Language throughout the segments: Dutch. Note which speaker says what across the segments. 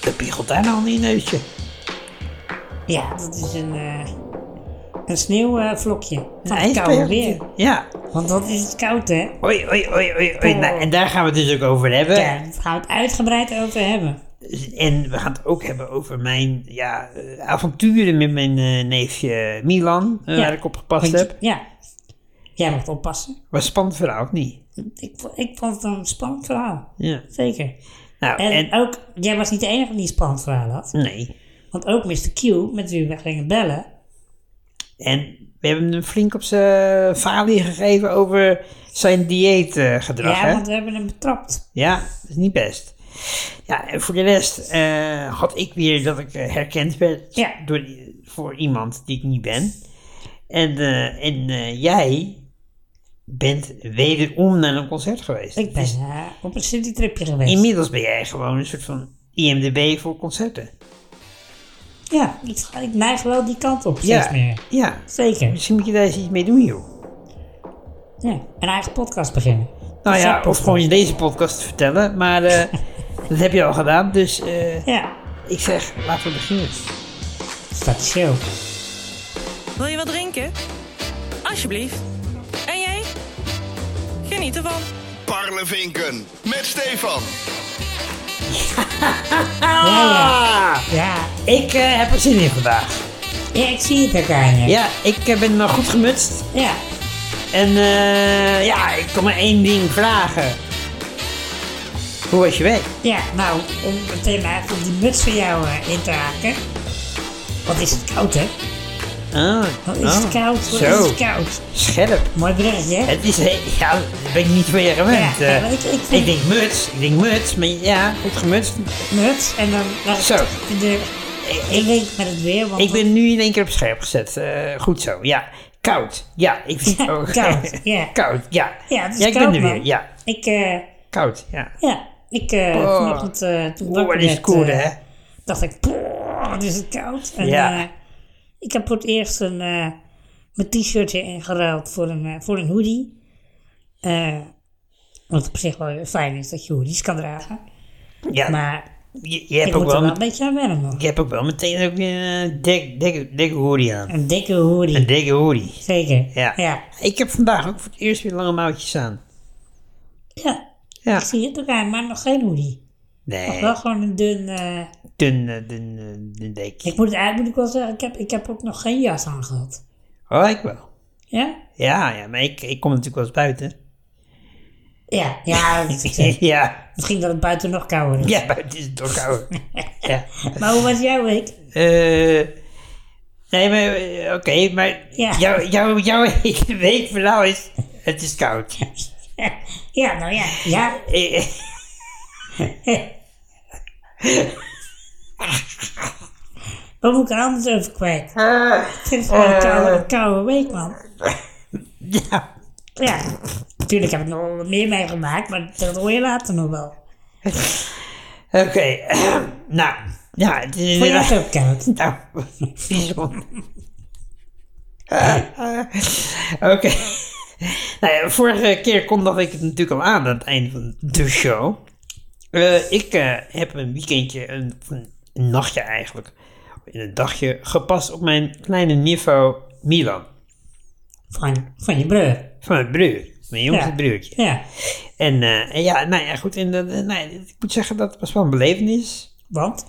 Speaker 1: Dat piegelt daar al in je neusje.
Speaker 2: Ja, dat is een, eh, een sneeuwvlokje.
Speaker 1: Een
Speaker 2: Van het koude
Speaker 1: ijsberg.
Speaker 2: weer.
Speaker 1: Ja.
Speaker 2: Want wat is het koud, hè?
Speaker 1: Oei, oei, oei, oei. oei. Nou, en daar gaan we het dus ook over hebben.
Speaker 2: Ja, daar gaan we het uitgebreid over hebben.
Speaker 1: En we gaan het ook hebben over mijn ja, eh, avonturen met mijn eh, neefje Milan, eh,
Speaker 2: Ja.
Speaker 1: waar ik op gepast
Speaker 2: Want je-
Speaker 1: heb.
Speaker 2: Ja. Jij mag oppassen.
Speaker 1: Was spannend verhaal, of niet?
Speaker 2: Ik, vo- ik vond het een spannend verhaal.
Speaker 1: Ja.
Speaker 2: Zeker.
Speaker 1: Nou,
Speaker 2: En,
Speaker 1: en...
Speaker 2: ook, jij was niet de enige die een spannend verhaal had.
Speaker 1: Nee.
Speaker 2: Want ook Mr. Q, met wie we gingen bellen.
Speaker 1: En we hebben hem flink op zijn falie gegeven over zijn dieetgedrag,
Speaker 2: ja,
Speaker 1: hè?
Speaker 2: want we hebben hem betrapt.
Speaker 1: Ja, dat is niet best. Ja, en voor de rest eh, had ik weer dat ik eh, herkend werd
Speaker 2: Ja.
Speaker 1: door, i- voor iemand die ik niet ben. En, eh, en eh, jij bent wederom naar een concert geweest.
Speaker 2: Ik ben
Speaker 1: Dus
Speaker 2: eh, op een citytripje geweest.
Speaker 1: inmiddels ben jij gewoon een soort van IMDB voor concerten.
Speaker 2: ja, ik, ik neig wel die kant op steeds
Speaker 1: ja,
Speaker 2: meer.
Speaker 1: ja.
Speaker 2: Zeker.
Speaker 1: Misschien moet je daar eens iets mee doen, joh.
Speaker 2: Ja. Een eigen podcast beginnen.
Speaker 1: Nou
Speaker 2: Een
Speaker 1: ja, of
Speaker 2: zakpodcast.
Speaker 1: gewoon je deze podcast vertellen, maar eh, dat heb je al gedaan. Dus eh,
Speaker 2: Ja,
Speaker 1: ik zeg, laten we beginnen.
Speaker 2: dat is show.
Speaker 3: Wil je wat drinken? Alsjeblieft. En jij? Geniet ervan.
Speaker 4: Parlevinken met Stefan.
Speaker 2: Ja,
Speaker 1: Ah!
Speaker 2: ja. ja.
Speaker 1: Ik eh, heb er zin in vandaag.
Speaker 2: Ja, ik zie het ook aan je.
Speaker 1: Ja, ik eh, ben nog goed gemutst.
Speaker 2: Ja.
Speaker 1: En eh, ja, ik kan maar één ding vragen. Hoe was je week?
Speaker 2: Ja, nou, om meteen maar even op die muts van jou eh, in te haken. Wat is het koud, hè?
Speaker 1: Ah,
Speaker 2: Wat is het
Speaker 1: ah,
Speaker 2: koud? Wat
Speaker 1: Zo,
Speaker 2: is het koud?
Speaker 1: scherp.
Speaker 2: Mooi bruggetje, hè?
Speaker 1: Het is, he- ja, daar ben ik niet van je gewend.
Speaker 2: Ja,
Speaker 1: eh.
Speaker 2: ja, ik- ik-
Speaker 1: denk muts, ik denk muts, maar ja, goed gemutst.
Speaker 2: Muts en dan leg ik
Speaker 1: Zo.
Speaker 2: het in de in link met het weer. Want
Speaker 1: Ik ben nu in één keer op scherp gezet. Eh, goed zo, ja. Koud, ja. Ik vind
Speaker 2: Ja,
Speaker 1: ook-
Speaker 2: koud, ja.
Speaker 1: Koud, ja.
Speaker 2: Ja, het is
Speaker 1: ik
Speaker 2: koud,
Speaker 1: ben er
Speaker 2: man.
Speaker 1: weer, ja.
Speaker 2: Ik, eh,
Speaker 1: Koud, ja.
Speaker 2: ja, ik eh
Speaker 1: Oh.
Speaker 2: vanochtend eh, toen
Speaker 1: Oh,
Speaker 2: wakker
Speaker 1: dat is
Speaker 2: werd,
Speaker 1: koud,
Speaker 2: eh,
Speaker 1: hè?
Speaker 2: dacht ik, "Poeh, wat is het koud. En,
Speaker 1: Ja.
Speaker 2: eh, ik heb voor het eerst een, eh, mijn t-shirtje ingeruild voor een, eh, voor een hoodie. Eh, wat op zich wel weer fijn is dat je hoodies kan dragen.
Speaker 1: Ja,
Speaker 2: Maar
Speaker 1: je, je hebt
Speaker 2: ik
Speaker 1: ook
Speaker 2: moet
Speaker 1: wel
Speaker 2: er wel
Speaker 1: met
Speaker 2: een beetje aan wennen nog.
Speaker 1: Ik heb ook wel meteen ook weer eh, een dik, dik, dikke hoodie aan.
Speaker 2: Een dikke hoodie,
Speaker 1: Een dikke hoodie.
Speaker 2: zeker.
Speaker 1: Ja.
Speaker 2: ja.
Speaker 1: Ik heb vandaag ook voor het eerst weer lange mouwtjes aan.
Speaker 2: Ja,
Speaker 1: Ja.
Speaker 2: ik zie het ook aan, maar nog geen hoodie.
Speaker 1: Nee,
Speaker 2: Wel gewoon een dun... eh,
Speaker 1: dun, eh, dun, eh, dun dekje.
Speaker 2: Ik moet eigenlijk moet ik wel zeggen, ik heb, ik heb ook nog geen jas aan gehad.
Speaker 1: Oh, ik wel.
Speaker 2: Ja?
Speaker 1: Ja, ja maar ik, ik kom natuurlijk wel eens buiten.
Speaker 2: Ja, ja dat is succes.
Speaker 1: ja.
Speaker 2: misschien dat het buiten nog kouder is.
Speaker 1: ja, buiten is het toch kouder. ja.
Speaker 2: Maar hoe was jouw week?
Speaker 1: Eh, nee, maar eh, oké, maar
Speaker 2: Ja.
Speaker 1: jouw jou, jou week van nou is, het is koud.
Speaker 2: Ja, nou ja. Ja,
Speaker 1: Eh,
Speaker 2: waar moet ik er anders over kwijt?
Speaker 1: eh,
Speaker 2: Het is gewoon een koude, een koude week, man.
Speaker 1: ja.
Speaker 2: Ja, natuurlijk heb ik nog wel wat meer meegemaakt, maar dat hoor je later nog wel.
Speaker 1: Oké, nou, ja, het is
Speaker 2: Vond je
Speaker 1: inderdaad-
Speaker 2: het ook koud?
Speaker 1: Nou, bijzonder. Oké. Nou ja, vorige keer kondigde ik het natuurlijk al aan aan het einde van de show. Eh, ik eh, heb een weekendje, een, of een nachtje eigenlijk, in een dagje, gepast op mijn kleine niveau Milan.
Speaker 2: Van, van je broer.
Speaker 1: Van mijn broer, mijn jongste
Speaker 2: Ja.
Speaker 1: broertje.
Speaker 2: Ja,
Speaker 1: En, eh, en ja, nou ja, goed. En, dat- eh, nou, ik moet zeggen dat het was wel een belevenis.
Speaker 2: want?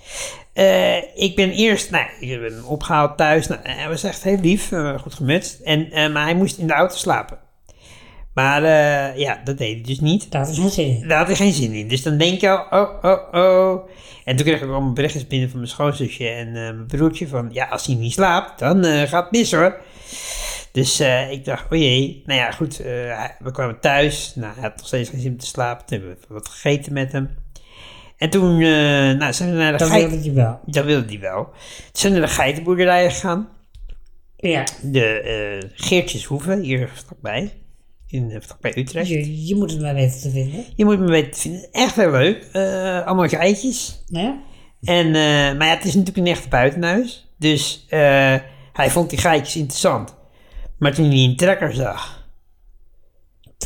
Speaker 1: Eh, ik ben eerst, nou, ik heb hem opgehaald thuis. Nou, hij was echt heel lief, eh, goed gemutst. En, eh, maar hij moest in de auto slapen. Maar eh, ja, dat deed hij dus niet.
Speaker 2: Dat is geen zin.
Speaker 1: Daar had hij geen zin in. Dus dan denk je al, oh, oh, oh. En toen kreeg ik allemaal berichtjes binnen van mijn schoonzusje en eh, mijn broertje van, ja, als hij niet slaapt, dan eh, gaat het mis hoor. Dus eh, ik dacht, oh jee. Nou ja, goed, eh, hij- we kwamen thuis. Nou, hij had nog steeds geen zin om te slapen. Toen hebben we wat gegeten met hem. En toen, eh, nou, zijn we naar de
Speaker 2: Dat
Speaker 1: geit-
Speaker 2: wilde ik je wel.
Speaker 1: dat wilde hij wel. Toen zijn naar de geitenboerderijen gegaan.
Speaker 2: Ja,
Speaker 1: De eh Geertjeshoeven, hier vlakbij. In, eh, vlakbij Utrecht.
Speaker 2: je, je moet het maar weten te vinden.
Speaker 1: Je moet me weten te vinden. Echt heel leuk. Eh, allemaal geitjes.
Speaker 2: Ja?
Speaker 1: En, eh, maar ja, het is natuurlijk een echt buitenhuis. Dus eh, hij vond die geitjes interessant. Maar toen hij een trekker zag,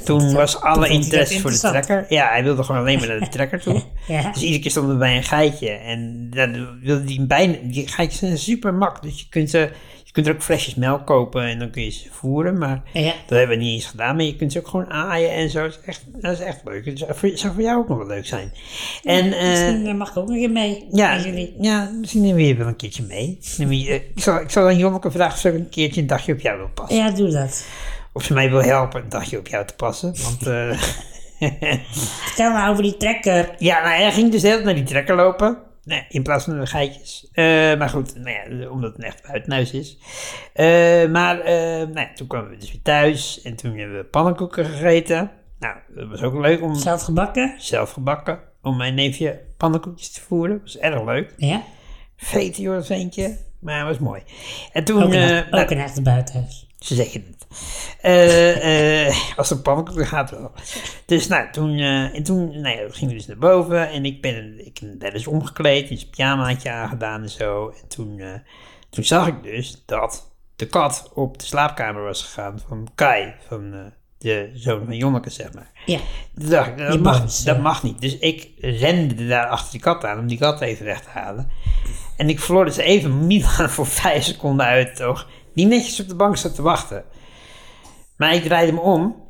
Speaker 1: Toen was alle
Speaker 2: vond hij dat
Speaker 1: interesse voor de
Speaker 2: interessant.
Speaker 1: trekker. Ja, hij wilde gewoon alleen maar naar de trekker toe.
Speaker 2: Ja.
Speaker 1: Dus iedere keer stond er bij een geitje. En dan wilde die, bijna, die geitjes zijn super mak. Dus je kunt, ze, je kunt er ook flesjes melk kopen en dan kun je ze voeren. Maar
Speaker 2: Ja.
Speaker 1: dat hebben we niet eens gedaan. Maar je kunt ze ook gewoon aaien en zo. Dat is echt, dat is echt leuk. Het zou voor, zou voor jou ook nog wel leuk zijn. En, eh,
Speaker 2: Misschien eh, mag ik ook nog een keer mee
Speaker 1: ja,
Speaker 2: met jullie.
Speaker 1: ja, misschien nemen we je wel een keertje mee. Nemen we je- eh, ik, zal, ik zal aan Jonneke vragen of ze ook een keertje een dagje op jou wil passen.
Speaker 2: Ja, doe dat.
Speaker 1: Of ze mij wil helpen een dagje op jou te passen. Want eh,
Speaker 2: Vertel nou over die trekker.
Speaker 1: ja, nou, hij ging dus de hele tijd naar die trekker lopen. Nee, in plaats van naar de geitjes. Eh, maar goed, nou ja, omdat het een echt buitenhuis is. Eh, maar eh, nou ja, toen kwamen we dus weer thuis. En toen hebben we pannenkoeken gegeten. Nou, dat was ook leuk om
Speaker 2: Zelf gebakken.
Speaker 1: zelf gebakken. Om mijn neefje pannenkoekjes te voeren. Dat was erg leuk.
Speaker 2: Ja,
Speaker 1: Veten joh, dat ventje. Maar het was mooi. En toen...
Speaker 2: ook een,
Speaker 1: eh,
Speaker 2: echt-
Speaker 1: nou,
Speaker 2: ook een echte buitenhuis.
Speaker 1: Ze zeggen het. Eh, eh, als een pannenkoek gaat wel. Dus nou, toen, eh, en toen nou ja, gingen we dus naar boven. En ik ben, ik ben daar dus omgekleed. Dus een pyjamaatje aangedaan en zo. En toen, eh, toen zag ik dus dat de kat op de slaapkamer was gegaan van Kai. Van eh, de zoon van Jonneke, zeg maar.
Speaker 2: Ja,
Speaker 1: Toen dacht ik, dat,
Speaker 2: Die
Speaker 1: mag,
Speaker 2: bons,
Speaker 1: dat
Speaker 2: ja.
Speaker 1: mag niet. Dus ik rende daar achter die kat aan om die kat even weg te halen. En ik verloor dus even Milan voor vijf seconden uit het oog. Die netjes op de bank zat te wachten. Maar ik draaide hem om.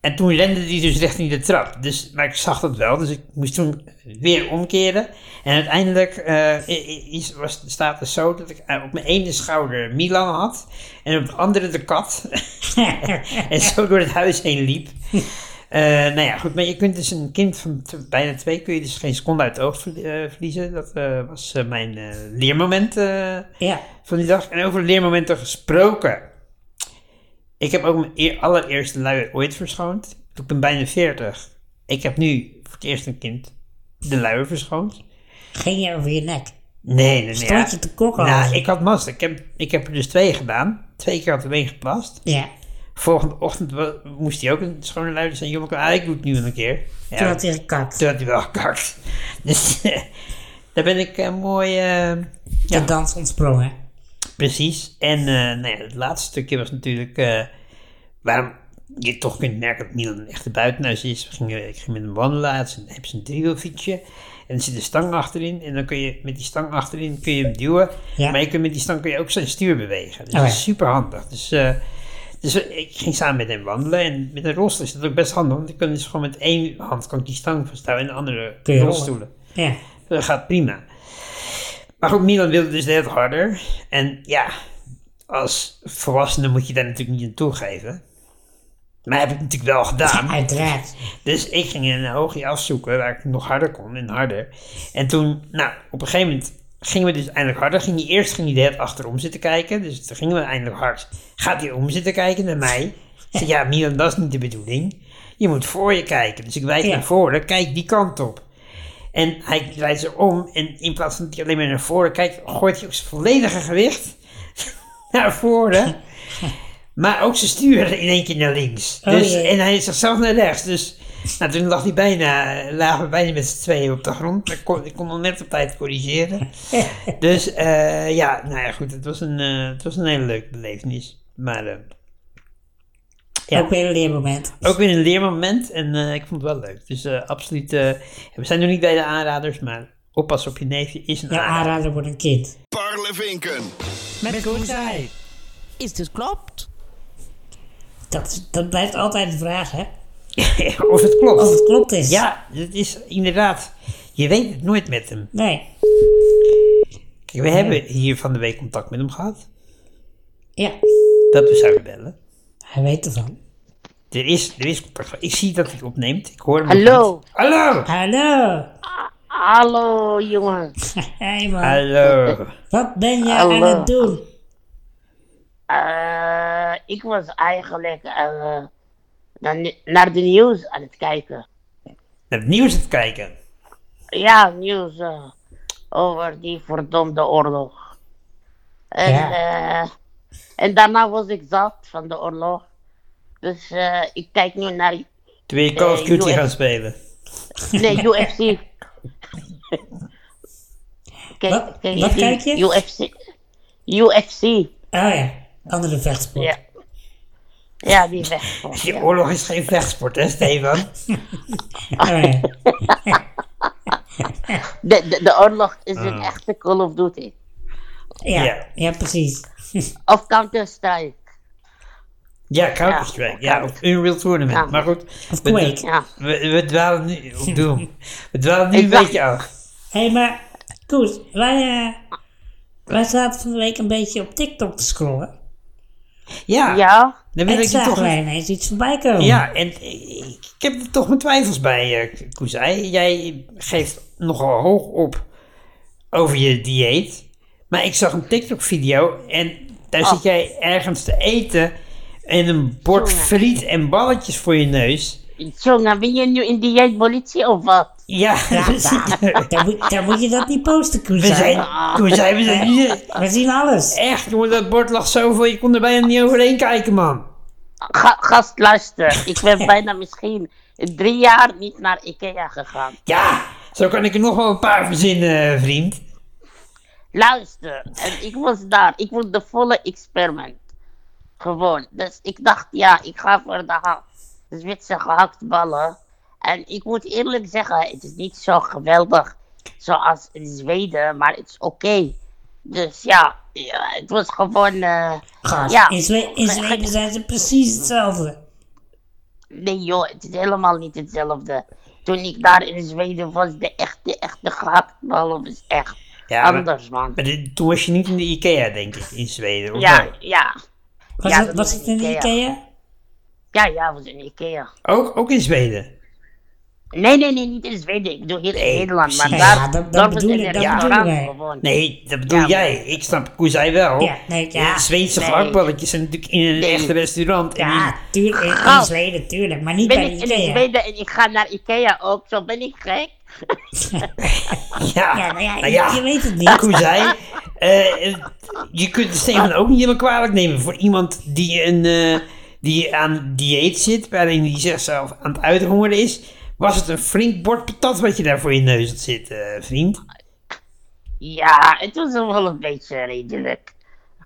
Speaker 1: En toen rende die dus richting de trap. Dus, maar ik zag dat wel. Dus ik moest toen weer omkeren. En uiteindelijk eh, i- i- is- was de status zo dat ik eh, op mijn ene schouder Milan had. En op de andere de kat. en zo door het huis heen liep. Eh, nou ja, goed, maar je kunt dus een kind van t- bijna twee, kun je dus geen seconde uit het oog verli- eh, verliezen. Dat eh, was eh, mijn eh, leermoment eh,
Speaker 2: ja.
Speaker 1: van die dag. En over leermomenten gesproken. Ik heb ook mijn eer- allereerste luier ooit verschoond. Ik ben bijna 40. Ik heb nu voor het eerst een kind de luier verschoond.
Speaker 2: Ging je over je nek.
Speaker 1: Nee, nee, nee.
Speaker 2: Stond je te kokken
Speaker 1: Nou,
Speaker 2: al?
Speaker 1: ik had mast. Ik heb, ik heb er dus twee gedaan. Twee keer had er één geplast.
Speaker 2: Ja,
Speaker 1: Volgende ochtend wa- moest hij ook een schone luider zijn. Jongen, ah, ik doe het nu wel een keer. Ja,
Speaker 2: toen had hij gekakt.
Speaker 1: toen had hij wel gekakt. Dus eh, daar ben ik eh, mooi... eh,
Speaker 2: De dans ontsprongen.
Speaker 1: Precies. En eh, nou ja, het laatste stukje was natuurlijk eh, waarom je toch kunt merken dat Milan een echte buitenhuis is. We gingen, ik ging met hem wandelen, hij had zijn- hij heeft zijn driewielfietsje. En er zit een stang achterin. En dan kun je met die stang achterin kun je hem duwen.
Speaker 2: Ja.
Speaker 1: Maar je kunt met die stang kun je ook zijn stuur bewegen. Dus
Speaker 2: Oh ja.
Speaker 1: dat is super handig. Dus, eh, dus ik ging samen met hem wandelen. En met een rolstoel is dat ook best handig. Want ik kan dus gewoon met één hand kan ik die stang vasthouden en de andere
Speaker 2: Kun je rollen.
Speaker 1: rolstoelen.
Speaker 2: Ja,
Speaker 1: Dat gaat prima. Maar goed, Milan wilde dus net harder. En ja, als volwassene moet je daar natuurlijk niet aan toegeven. Maar heb ik natuurlijk wel gedaan.
Speaker 2: uiteraard.
Speaker 1: Dus ik ging een hoogje afzoeken waar ik nog harder kon en harder. En toen, nou, op een gegeven moment gingen we dus eindelijk harder. Ging hij, eerst ging hij de hele tijd achterom zitten kijken. Dus toen gingen we eindelijk hard. Gaat hij om zitten kijken naar mij? Ik zeg, ja, Milan, dat is niet de bedoeling. Je moet voor je kijken. Dus ik wijk
Speaker 2: Ja.
Speaker 1: naar voren, kijk die kant op. En hij draait zich om en in plaats van dat hij alleen maar naar voren kijkt, gooit hij ook zijn volledige gewicht naar voren. Maar ook zijn stuur in één keer naar links.
Speaker 2: Oh
Speaker 1: dus,
Speaker 2: jee.
Speaker 1: en hij is zichzelf naar rechts. Dus nou, toen lag hij bijna, lagen we bijna met z'n tweeën op de grond. Ik kon, ik kon hem net op tijd corrigeren. dus eh, ja, nou ja, goed. Het was een, eh, het was een hele leuke belevenis. Maar eh, Ja.
Speaker 2: Ook weer een leermoment.
Speaker 1: ook weer een leermoment. En eh, ik vond het wel leuk. Dus eh, absoluut. eh, we zijn nog niet bij de aanraders, maar oppassen op je neefje is een
Speaker 2: Jouw
Speaker 1: aanrader.
Speaker 2: aanrader wordt een kind.
Speaker 4: Parlevinken.
Speaker 3: Met Koenzij. Is dit klopt?
Speaker 2: Dat, dat blijft altijd de vraag, hè?
Speaker 1: of het klopt.
Speaker 2: Of het klopt is.
Speaker 1: Ja, het is inderdaad. Je weet het nooit met hem.
Speaker 2: Nee.
Speaker 1: Kijk, we hebben hier van de week contact met hem gehad.
Speaker 2: Ja.
Speaker 1: Dat we zouden bellen.
Speaker 2: Hij weet ervan.
Speaker 1: Er is, er is contact. Ik zie dat hij opneemt. Ik hoor hem.
Speaker 5: Hallo.
Speaker 1: niet. Hallo.
Speaker 2: Hallo.
Speaker 5: Hallo jongen.
Speaker 2: Hey man.
Speaker 1: Hallo.
Speaker 2: Wat ben jij
Speaker 5: Hallo.
Speaker 2: aan het doen?
Speaker 5: Eh, ik was eigenlijk eh, naar, ni- naar de nieuws aan het kijken.
Speaker 1: Naar het nieuws aan het kijken.
Speaker 5: Ja, nieuws eh, over die verdomde oorlog. En,
Speaker 2: Ja.
Speaker 5: eh, en daarna was ik zat van de oorlog. Dus eh, ik kijk nu naar
Speaker 1: Toen wil je Call of
Speaker 5: Eh,
Speaker 1: Duty
Speaker 5: joh.
Speaker 1: gaan spelen.
Speaker 5: nee, UFC. Kijk,
Speaker 2: Wat- wat kijk je?
Speaker 5: UFC. UFC.
Speaker 2: Oh ja. Andere vechtsport.
Speaker 5: Ja. Ja, die vechtsport.
Speaker 1: Die
Speaker 5: ja.
Speaker 1: oorlog is geen vechtsport, hè, Stefan?
Speaker 2: Oh, nee.
Speaker 5: De, de, de oorlog is een echte Call of Duty.
Speaker 2: ja,
Speaker 1: Ja.
Speaker 2: ja. precies.
Speaker 5: Of Counter-Strike.
Speaker 1: Ja, Counter-Strike. Ja,
Speaker 5: Ja,
Speaker 1: of Unreal Tournament.
Speaker 5: Ja.
Speaker 1: Maar goed,
Speaker 2: Of
Speaker 1: we,
Speaker 2: Quake.
Speaker 5: Ja.
Speaker 1: we, we dwalen nu op Doom. We dwalen nu
Speaker 5: Ik
Speaker 1: een
Speaker 5: dacht-
Speaker 1: beetje af.
Speaker 2: Hé, hey, maar Koos, wij, eh, wij zaten van de week een beetje op TikTok te scrollen.
Speaker 1: Ja,
Speaker 5: Ja.
Speaker 1: dan wil
Speaker 2: En
Speaker 1: ik je
Speaker 2: zagen
Speaker 1: toch...
Speaker 2: wij ineens iets voorbij komen.
Speaker 1: Ja, en ik ik heb er toch mijn twijfels bij, eh, Koezij. Jij geeft nogal hoog op over je dieet. Maar ik zag een TikTok-video en daar zit jij ergens te eten... en een bord
Speaker 5: Jongen.
Speaker 1: friet en balletjes voor je neus.
Speaker 5: Jongen, ben je nu in dieetpolitie of wat?
Speaker 1: Ja, we zitten-
Speaker 2: Daar moet, daar moet je dat niet posten, Koos.
Speaker 1: we zijn... Koezij, we zijn hier...
Speaker 2: We zien alles.
Speaker 1: Echt, jongen, dat bord lag zoveel. Je kon er bijna niet overheen kijken, man.
Speaker 5: Ga, gast, luister. Ik ben bijna misschien drie jaar niet naar Ikea gegaan.
Speaker 1: Ja, zo kan ik er nog wel een paar verzinnen, eh, vriend.
Speaker 5: Luister, en ik was daar. Ik was de volle experiment. Gewoon. Dus ik dacht, ja, ik ga voor de ha- Zwitser gehaktballen. En ik moet eerlijk zeggen, het is niet zo geweldig zoals in Zweden, maar het is oké. Dus ja, ja, het was gewoon. eh,
Speaker 2: Gast,
Speaker 5: ja.
Speaker 2: in, Zwe- in Zweden zijn ze precies hetzelfde.
Speaker 5: Nee joh, het is helemaal niet hetzelfde. Toen ik daar in Zweden was, de echte, echte gehaktballen was echt
Speaker 1: Ja, maar-
Speaker 5: anders, man.
Speaker 1: Maar dit- toen was je niet in de Ikea, denk ik, in Zweden. Of
Speaker 5: Ja,
Speaker 1: wel?
Speaker 5: ja.
Speaker 2: Was,
Speaker 5: Ja,
Speaker 2: het,
Speaker 5: dat
Speaker 2: was
Speaker 5: is
Speaker 2: het in de
Speaker 5: Ikea.
Speaker 2: Ikea?
Speaker 5: Ja, ja, was in Ikea.
Speaker 1: Ook, ook in Zweden.
Speaker 5: Nee, nee, nee, niet in Zweden. Ik bedoel hier in Nederland. Maar
Speaker 2: precies.
Speaker 5: daar,
Speaker 2: Ja, dat- dat
Speaker 5: daar was
Speaker 2: bedoel
Speaker 5: in
Speaker 2: ik,
Speaker 5: een
Speaker 2: dat
Speaker 5: restaurant
Speaker 2: bedoelen wij.
Speaker 5: gewoon.
Speaker 1: Nee, dat bedoel
Speaker 5: Ja, maar-
Speaker 1: jij. Ik snap hoe zij wel.
Speaker 2: Ja, nee, ja.
Speaker 1: De Zweedse
Speaker 5: Nee.
Speaker 1: gehaktballetjes zijn natuurlijk in een
Speaker 5: Nee.
Speaker 1: echt restaurant. en
Speaker 2: Ja,
Speaker 1: in-
Speaker 2: tuurlijk. In, in
Speaker 5: Gast.
Speaker 2: Zweden, tuurlijk. Maar niet
Speaker 5: Ben
Speaker 2: bij
Speaker 5: ik
Speaker 2: de
Speaker 5: in de
Speaker 2: Ikea.
Speaker 5: Zweden en ik ga naar Ikea ook, zo ben ik gek.
Speaker 1: ja,
Speaker 2: Ja, nou ja,
Speaker 1: nou
Speaker 2: je-
Speaker 1: ja.
Speaker 2: je weet het niet.
Speaker 1: Hoe zij. eh, het- je kunt het Stefan ook niet helemaal kwalijk nemen voor iemand die, een, eh, die aan dieet zit, waarin die zichzelf aan het uithongeren is. Was het een flink bord patat wat je daar voor je neus had zitten, eh, vriend?
Speaker 5: Ja, het was wel een beetje redelijk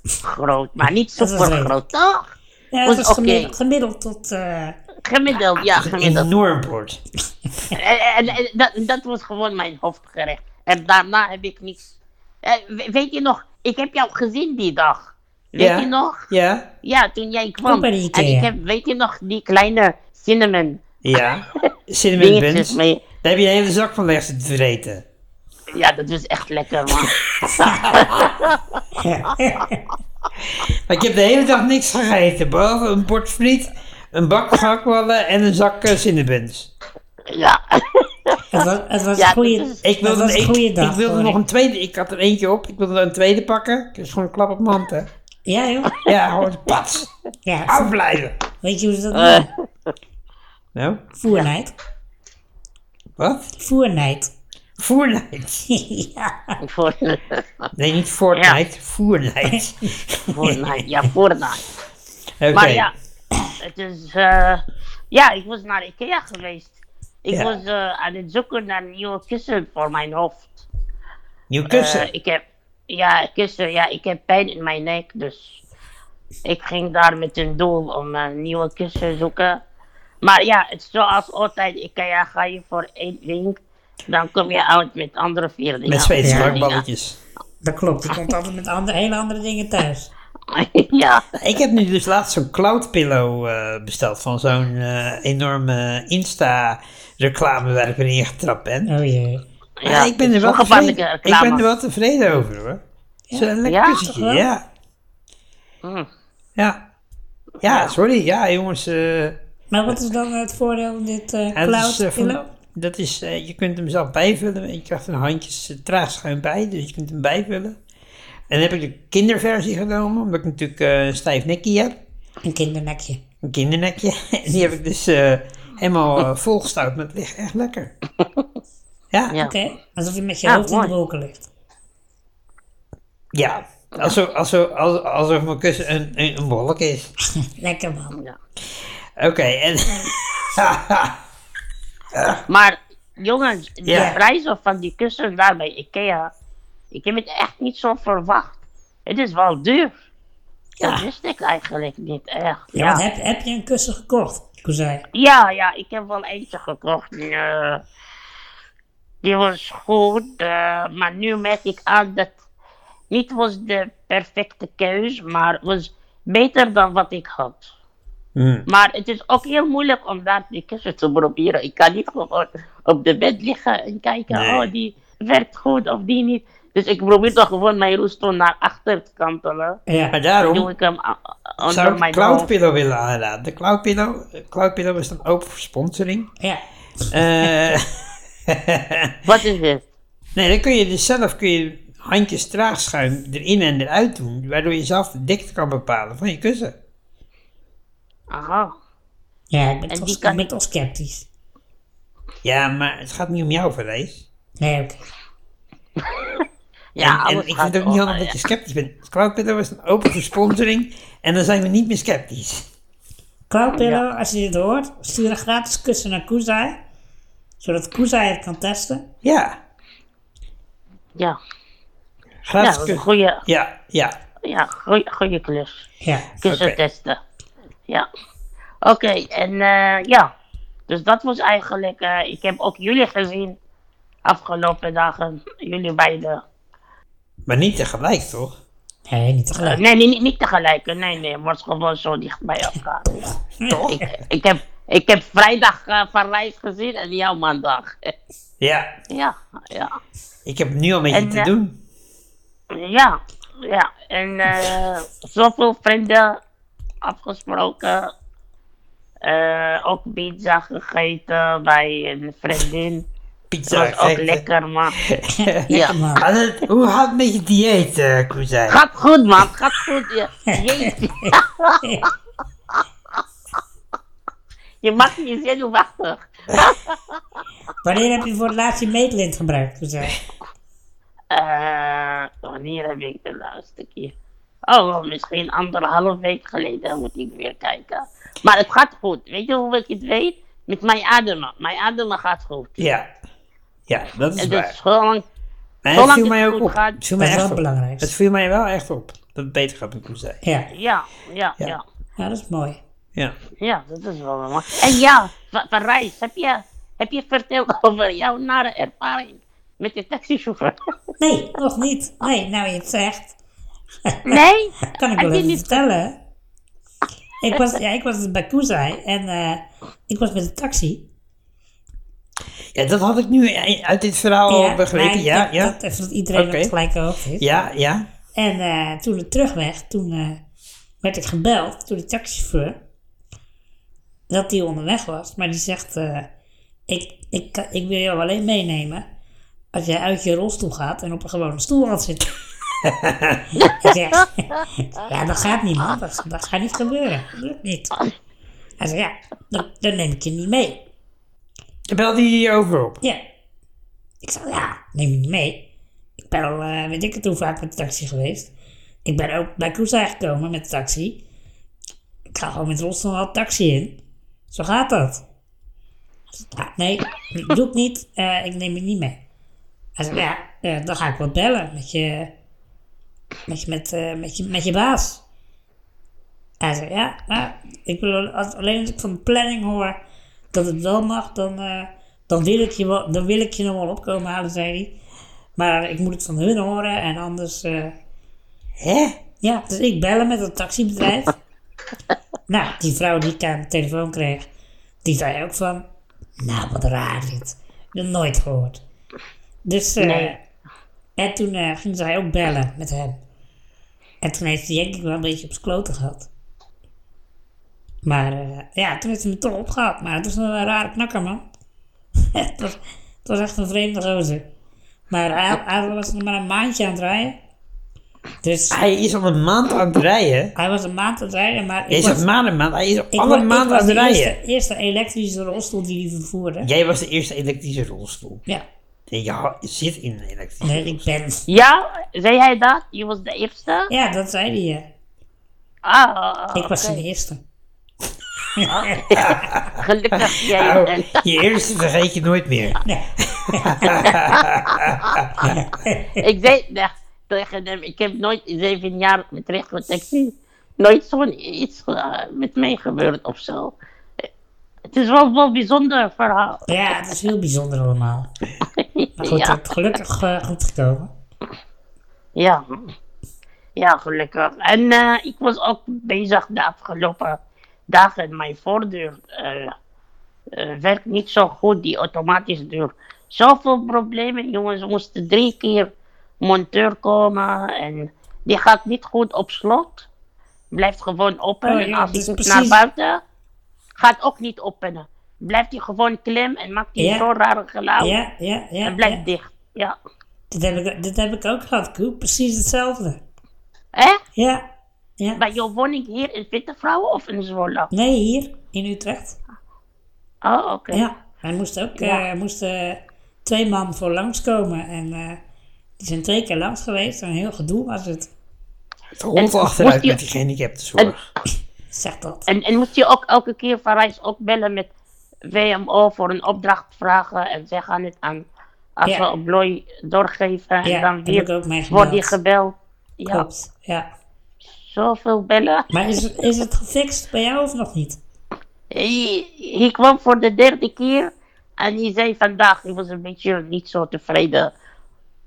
Speaker 5: groot, maar niet
Speaker 2: Dat was
Speaker 5: super groot, toch?
Speaker 2: Ja, het
Speaker 5: Was
Speaker 2: was
Speaker 5: oké.
Speaker 2: gemiddeld, gemiddeld tot... eh,
Speaker 5: Gemiddeld, ja,
Speaker 1: Een
Speaker 5: gemiddeld.
Speaker 1: enorm bord.
Speaker 5: En, en- en dat, dat was gewoon mijn hoofdgerecht. En daarna heb ik niks. Eh, we- weet je nog, ik heb jou gezien die dag. Weet
Speaker 1: Ja.
Speaker 5: je nog?
Speaker 1: Ja?
Speaker 5: Ja, toen jij kwam.
Speaker 2: Ook bij de Ikea.
Speaker 5: En ik heb, weet je nog, die kleine cinnamon
Speaker 1: Ja. Cinnamon
Speaker 5: dingetjes
Speaker 1: buns.
Speaker 5: mee.
Speaker 1: Daar heb je een hele zak van leeg te vreten.
Speaker 5: Ja, dat was echt lekker, man.
Speaker 1: Maar ik heb de hele dag niks gegeten, behalve een bord friet, een bak gehaktballen en een zak eh, cinnabuns.
Speaker 5: ja.
Speaker 2: het was, het was
Speaker 5: Ja,
Speaker 2: een goede,
Speaker 5: dat is-
Speaker 1: Ik
Speaker 2: het
Speaker 1: wilde,
Speaker 2: was een
Speaker 1: ik,
Speaker 2: goede dag.
Speaker 1: ik wilde
Speaker 2: hoor.
Speaker 1: nog een tweede, ik had er eentje op, ik wilde er een tweede pakken. Ik is gewoon een klap op mijn hand, hè.
Speaker 2: Ja, joh.
Speaker 1: Ja, gewoon pats,
Speaker 2: Ja,
Speaker 1: afblijven.
Speaker 2: weet je hoe ze dat noemen?
Speaker 1: Nou,
Speaker 2: Voernijd.
Speaker 1: wat?
Speaker 2: Voernijd.
Speaker 1: Voernijd.
Speaker 2: ja.
Speaker 5: Voor,
Speaker 1: Nee, niet Fortnite, voernijd.
Speaker 5: Fortnite, ja, Fortnite.
Speaker 1: Oké.
Speaker 5: Maar ja, het is. eh, ja, ik was naar Ikea geweest. Ik
Speaker 1: Ja.
Speaker 5: was eh, aan het zoeken naar nieuwe kussen voor mijn hoofd.
Speaker 1: Nieuw
Speaker 5: Eh,
Speaker 1: kussen.
Speaker 5: ik heb. Ja, kussen, ja, ik heb pijn in mijn nek, dus. Ik ging daar met een doel om een nieuwe kussen zoeken. Maar ja, het is zoals altijd, Ikea ga je voor één ding, dan kom je uit met andere vier dingen.
Speaker 1: Met Zweedse
Speaker 2: ja.
Speaker 1: gehaktballetjes.
Speaker 2: Dat klopt, je komt altijd met andere, hele andere dingen thuis.
Speaker 5: ja.
Speaker 1: Ik heb nu dus laatst zo'n cloud pillow eh, besteld van zo'n eh, enorme Insta-reclame waar ik weer ingetrapt ben.
Speaker 2: Oh jee.
Speaker 1: Ja,
Speaker 5: Ja,
Speaker 1: ik ben er
Speaker 5: zo
Speaker 1: wel
Speaker 5: gevaarlijke
Speaker 1: tevreden. Ik
Speaker 5: reclame.
Speaker 1: ben er wel tevreden over hoor. Ja, een lekker
Speaker 5: Ja,
Speaker 1: kussentje,
Speaker 2: toch wel?
Speaker 1: ja.
Speaker 5: Mm.
Speaker 1: ja. Ja, sorry. Ja, jongens. eh,
Speaker 2: Maar wat is dan het voordeel van dit eh
Speaker 1: ja, dat is,
Speaker 2: cloud
Speaker 1: eh, van-
Speaker 2: pillow?
Speaker 1: dat is, eh, je kunt hem zelf bijvullen. en Je krijgt een handjes eh, traagschuim bij, dus je kunt hem bijvullen. En dan heb ik de kinderversie genomen, omdat ik natuurlijk eh, een stijf nekje heb.
Speaker 2: Een kindernekje.
Speaker 1: Een kindernekje. En die heb ik dus eh, helemaal eh, volgestouwd, maar het ligt echt lekker. Ja, ja.
Speaker 5: Ja.
Speaker 2: Oké, alsof je met je
Speaker 5: Ja,
Speaker 2: hoofd in de
Speaker 5: mooi.
Speaker 2: wolken ligt.
Speaker 1: Alsof, alsof, alsof, alsof mijn kussen een, een, een wolk is.
Speaker 2: Lekker man.
Speaker 1: Oké, en...
Speaker 5: Maar jongens, de
Speaker 1: Ja.
Speaker 5: prijzen van die kussen daar bij Ikea, ik heb het echt niet zo verwacht. Het is wel duur. Dat wist ik eigenlijk niet echt.
Speaker 2: Ja, want heb, heb je een kussen gekocht, Kozij?
Speaker 5: Ja, ja, ik heb wel eentje gekocht. Die, eh, die was goed, eh, maar nu merk ik aan dat niet was de perfecte keus, maar was beter dan wat ik had.
Speaker 1: Hmm.
Speaker 5: Maar het is ook heel moeilijk om daar die kussen te proberen. Ik kan niet gewoon op de bed liggen en kijken,
Speaker 1: Nee.
Speaker 5: oh die werkt goed of die niet. Dus ik probeer toch gewoon mijn rolstoel naar achter te kantelen.
Speaker 1: Maar
Speaker 2: Ja.
Speaker 5: Doe
Speaker 1: daarom
Speaker 5: ik hem a- a-
Speaker 1: zou
Speaker 5: onder
Speaker 1: ik
Speaker 5: mijn
Speaker 1: Cloud
Speaker 5: hoofd.
Speaker 1: Pillow willen aanraden. De Cloud Pillow, eh, Cloud Pillow is dan open voor sponsoring.
Speaker 2: Ja.
Speaker 1: Eh,
Speaker 5: Wat is dit?
Speaker 1: nee, dan kun je dus zelf kun je handjes traagschuim erin en eruit doen, waardoor je zelf de dikte kan bepalen van je kussen.
Speaker 5: Aha.
Speaker 2: Ja, ik ben,
Speaker 5: En
Speaker 2: toch,
Speaker 5: die kan
Speaker 2: ik ben toch sceptisch.
Speaker 1: Ja, maar het gaat niet om jou, Verlees.
Speaker 2: Nee, oké.
Speaker 5: Ja,
Speaker 1: en,
Speaker 5: alles
Speaker 1: en ik
Speaker 5: gaat
Speaker 1: vind het ook niet
Speaker 5: om-
Speaker 1: handig dat je sceptisch bent. Cloud Pillow is dan open voor sponsoring en dan zijn we niet meer sceptisch.
Speaker 2: Klauwpillow, als je dit hoort, stuur een gratis kussen naar Kozai. Zodat Kozai het kan testen.
Speaker 1: Ja,
Speaker 5: Ja, ja
Speaker 1: gratis
Speaker 5: dat is een
Speaker 1: kussen.
Speaker 5: goede,
Speaker 1: Ja, ja.
Speaker 5: ja, goede, goede klus.
Speaker 2: Ja.
Speaker 5: Kussen
Speaker 1: Oké.
Speaker 5: testen. Ja. Oké, en eh, ja. Dus dat was eigenlijk, eh, ik heb ook jullie gezien afgelopen dagen. Jullie beiden.
Speaker 1: Maar niet tegelijk, toch?
Speaker 2: Nee, niet tegelijk.
Speaker 5: Nee, nee, niet, niet tegelijk. Nee, nee, wordt gewoon zo dicht bij elkaar.
Speaker 1: Toch?
Speaker 5: ik, heb, ik heb vrijdag eh, van Rijs gezien en jouw maandag.
Speaker 1: Ja,
Speaker 5: ja, ja.
Speaker 1: ik heb nu al met je
Speaker 5: En,
Speaker 1: te
Speaker 5: eh,
Speaker 1: doen.
Speaker 5: Ja, ja. En eh zoveel vrienden afgesproken. Eh, ook pizza gegeten bij een vriendin.
Speaker 1: Pizza.
Speaker 5: Dat was ook
Speaker 1: gegeten.
Speaker 5: lekker, man.
Speaker 2: Lekker
Speaker 5: Ja.
Speaker 2: man.
Speaker 1: Had het- hoe had het met je dieet, eh Koezijn?
Speaker 5: Gaat goed, man. Gaat goed. Je, jeetje. je mag niet zenuwachtig.
Speaker 2: Wanneer heb je voor het laatst je meetlint gebruikt, Kozij?
Speaker 5: Eh, wanneer heb ik de laatste keer? Oh, wel, misschien anderhalf week geleden moet ik weer kijken. Maar het gaat goed. Weet je hoe ik het weet? Met mijn ademen. Mijn ademen gaat goed.
Speaker 1: Ja. Ja, dat is
Speaker 5: Het
Speaker 1: waar.
Speaker 5: is gewoon...
Speaker 1: maar het
Speaker 5: dus, zolang
Speaker 1: viel
Speaker 5: het
Speaker 1: mij ook
Speaker 5: goed
Speaker 1: op.
Speaker 5: gaat,
Speaker 1: Het viel
Speaker 2: Dat
Speaker 1: mij
Speaker 2: is wel
Speaker 1: echt
Speaker 2: het
Speaker 1: op.
Speaker 2: belangrijkste.
Speaker 1: Het viel mij wel echt op. Dat het beter gaat met Koezijn.
Speaker 2: Ja.
Speaker 5: Ja, ja,
Speaker 1: Ja.
Speaker 5: ja. ja.
Speaker 2: ja, dat is mooi.
Speaker 1: Ja.
Speaker 5: dat is wel mooi. En ja, van, van Reis, heb je, heb je verteld over jouw nare ervaring met de taxichauffeur?
Speaker 2: Nee, nog niet. Nee, nou je het zegt.
Speaker 5: Nee?
Speaker 2: Kan ik
Speaker 5: Heb
Speaker 2: wel
Speaker 5: je
Speaker 2: even
Speaker 5: niet-
Speaker 2: vertellen? Ik was, ja, ik was dus bij Koezai en eh, ik was met de taxi.
Speaker 1: ja, dat had ik nu eh, uit dit verhaal al begrepen.
Speaker 2: maar
Speaker 1: Ja,
Speaker 2: dat-
Speaker 1: ja.
Speaker 2: Dat, even dat iedereen op
Speaker 1: Oké.
Speaker 2: het gelijke hoofd is.
Speaker 1: ja, ja.
Speaker 2: En eh, toen de terugweg, toen eh, werd ik gebeld door de taxichauffeur. Dat die onderweg was. Maar die zegt, eh, ik, ik, kan- ik wil jou alleen meenemen als jij uit je rolstoel gaat en op een gewone stoel gaat zitten. ik zeg, ja, dat gaat niet man, dat, dat gaat niet gebeuren. Dat lukt niet. Hij zegt, ja, dan, dan neem ik je niet mee.
Speaker 1: Dan belde hij je over op.
Speaker 2: Ja. Ik zei, ja, neem je niet mee. Ik ben al, eh, weet ik het hoe vaak met de taxi geweest. Ik ben ook bij Koesa gekomen met de taxi. Ik ga gewoon met Rostel al taxi in. Zo gaat dat. Ik zei, Ja, nee, doe ik niet. Eh, ik neem je niet mee. Hij zei, ja, eh, dan ga ik wel bellen met je, met je, met, eh, met je, met je baas. Hij zei, ja, nou, ik wil, als, alleen als ik van de planning hoor dat het wel mag, dan, eh, dan, wil, ik je wel, dan wil ik je nog wel opkomen halen, zei hij. Maar ik moet het van hun horen en anders... eh,
Speaker 1: Hè?
Speaker 2: ja, dus ik bellen met het taxibedrijf. nou, die vrouw die ik aan de telefoon kreeg, die zei ook van... Nou, wat raar dit. Ik heb nooit gehoord. Dus, eh,
Speaker 5: Nee.
Speaker 2: en toen eh, ging zij ook bellen met hem. En toen heeft hij denk ik wel een beetje op zijn kloten gehad. Maar eh, ja, toen heeft hij me toch opgehaald. Maar het was een rare knakker, man. het, was, het was echt een vreemde gozer. Maar hij, hij was nog maar een maandje aan het rijden. Dus...
Speaker 1: Hij is al een maand aan het rijden.
Speaker 2: Hij was een maand aan het rijden, maar
Speaker 1: Hij
Speaker 2: ik
Speaker 1: is
Speaker 2: was,
Speaker 1: al maand een maand. Hij is
Speaker 2: ik
Speaker 1: al
Speaker 2: wa-
Speaker 1: een maand
Speaker 2: ik
Speaker 1: aan
Speaker 2: was
Speaker 1: het
Speaker 2: de
Speaker 1: rijden.
Speaker 2: eerste, eerste elektrische rolstoel die hij vervoerde. Ja.
Speaker 1: Jij was de eerste elektrische rolstoel. En je ha- zit in een elektrische
Speaker 2: Nee,
Speaker 1: rolstoel.
Speaker 2: ik ben...
Speaker 5: Ja, zei hij dat? Je was de eerste?
Speaker 2: Ja, dat zei hij. ja.
Speaker 5: Ah,
Speaker 2: Ik was
Speaker 5: oké.
Speaker 2: zijn eerste.
Speaker 5: Gelukkig jij
Speaker 1: Oh,
Speaker 5: bent.
Speaker 1: je eerste vergeet je nooit meer.
Speaker 2: Nee.
Speaker 5: Ik zei nee, tegen hem, ik heb nooit in zeven jaar met recht taxi nooit zo'n iets eh, met mij gebeurd of zo. Eh, Het is wel wel een bijzonder verhaal.
Speaker 2: Ja, het is heel bijzonder allemaal. Maar goed,
Speaker 5: Ja.
Speaker 2: het gelukkig eh, goed gekomen.
Speaker 5: Ja. Ja, gelukkig. En eh, ik was ook bezig de afgelopen dagen. Mijn voordeur eh, eh, werkt niet zo goed, die automatische deur. Zoveel problemen, jongens. We moesten drie keer monteur komen en die gaat niet goed op slot. Blijft gewoon open.
Speaker 2: Oh ja,
Speaker 5: en als
Speaker 2: dat is
Speaker 5: ik
Speaker 2: precies-
Speaker 5: naar buiten, gaat ook niet openen. Blijft die gewoon klem en maakt die
Speaker 2: Ja.
Speaker 5: zo'n rare geluid.
Speaker 2: Ja, ja, ja.
Speaker 5: En Oh. blijft
Speaker 2: ja.
Speaker 5: dicht. Ja.
Speaker 2: Dit, heb ik, dit heb ik ook gehad, Koen. Precies hetzelfde.
Speaker 5: Hè?
Speaker 2: Ja, ja.
Speaker 5: Bij jouw woning hier in Wittevrouwen of in Zwolle?
Speaker 2: Nee, hier in Utrecht.
Speaker 5: Oh, oké.
Speaker 2: Ja, hij moest ook eh,
Speaker 5: Ja.
Speaker 2: er moesten twee man voor langskomen. En eh, die zijn twee keer langs geweest. En een heel gedoe was het.
Speaker 1: Het rolt
Speaker 5: En-
Speaker 1: achteruit
Speaker 5: moest je-
Speaker 1: met die gehandicaptenzorg.
Speaker 2: Zeg dat.
Speaker 5: En, en moest je ook elke keer van reis ook bellen met WMO voor een opdracht vragen en zij gaan het aan als
Speaker 2: Ja.
Speaker 5: we op Looi doorgeven en
Speaker 2: Ja,
Speaker 5: dan
Speaker 2: heb ik ook
Speaker 5: weer
Speaker 2: meegebeld.
Speaker 5: wordt die gebeld. Ja,
Speaker 2: Klopt, ja.
Speaker 5: zoveel bellen.
Speaker 2: Maar is, is het gefixt bij jou of nog niet?
Speaker 5: Hij, hij kwam voor de derde keer en hij zei vandaag, ik was een beetje niet zo tevreden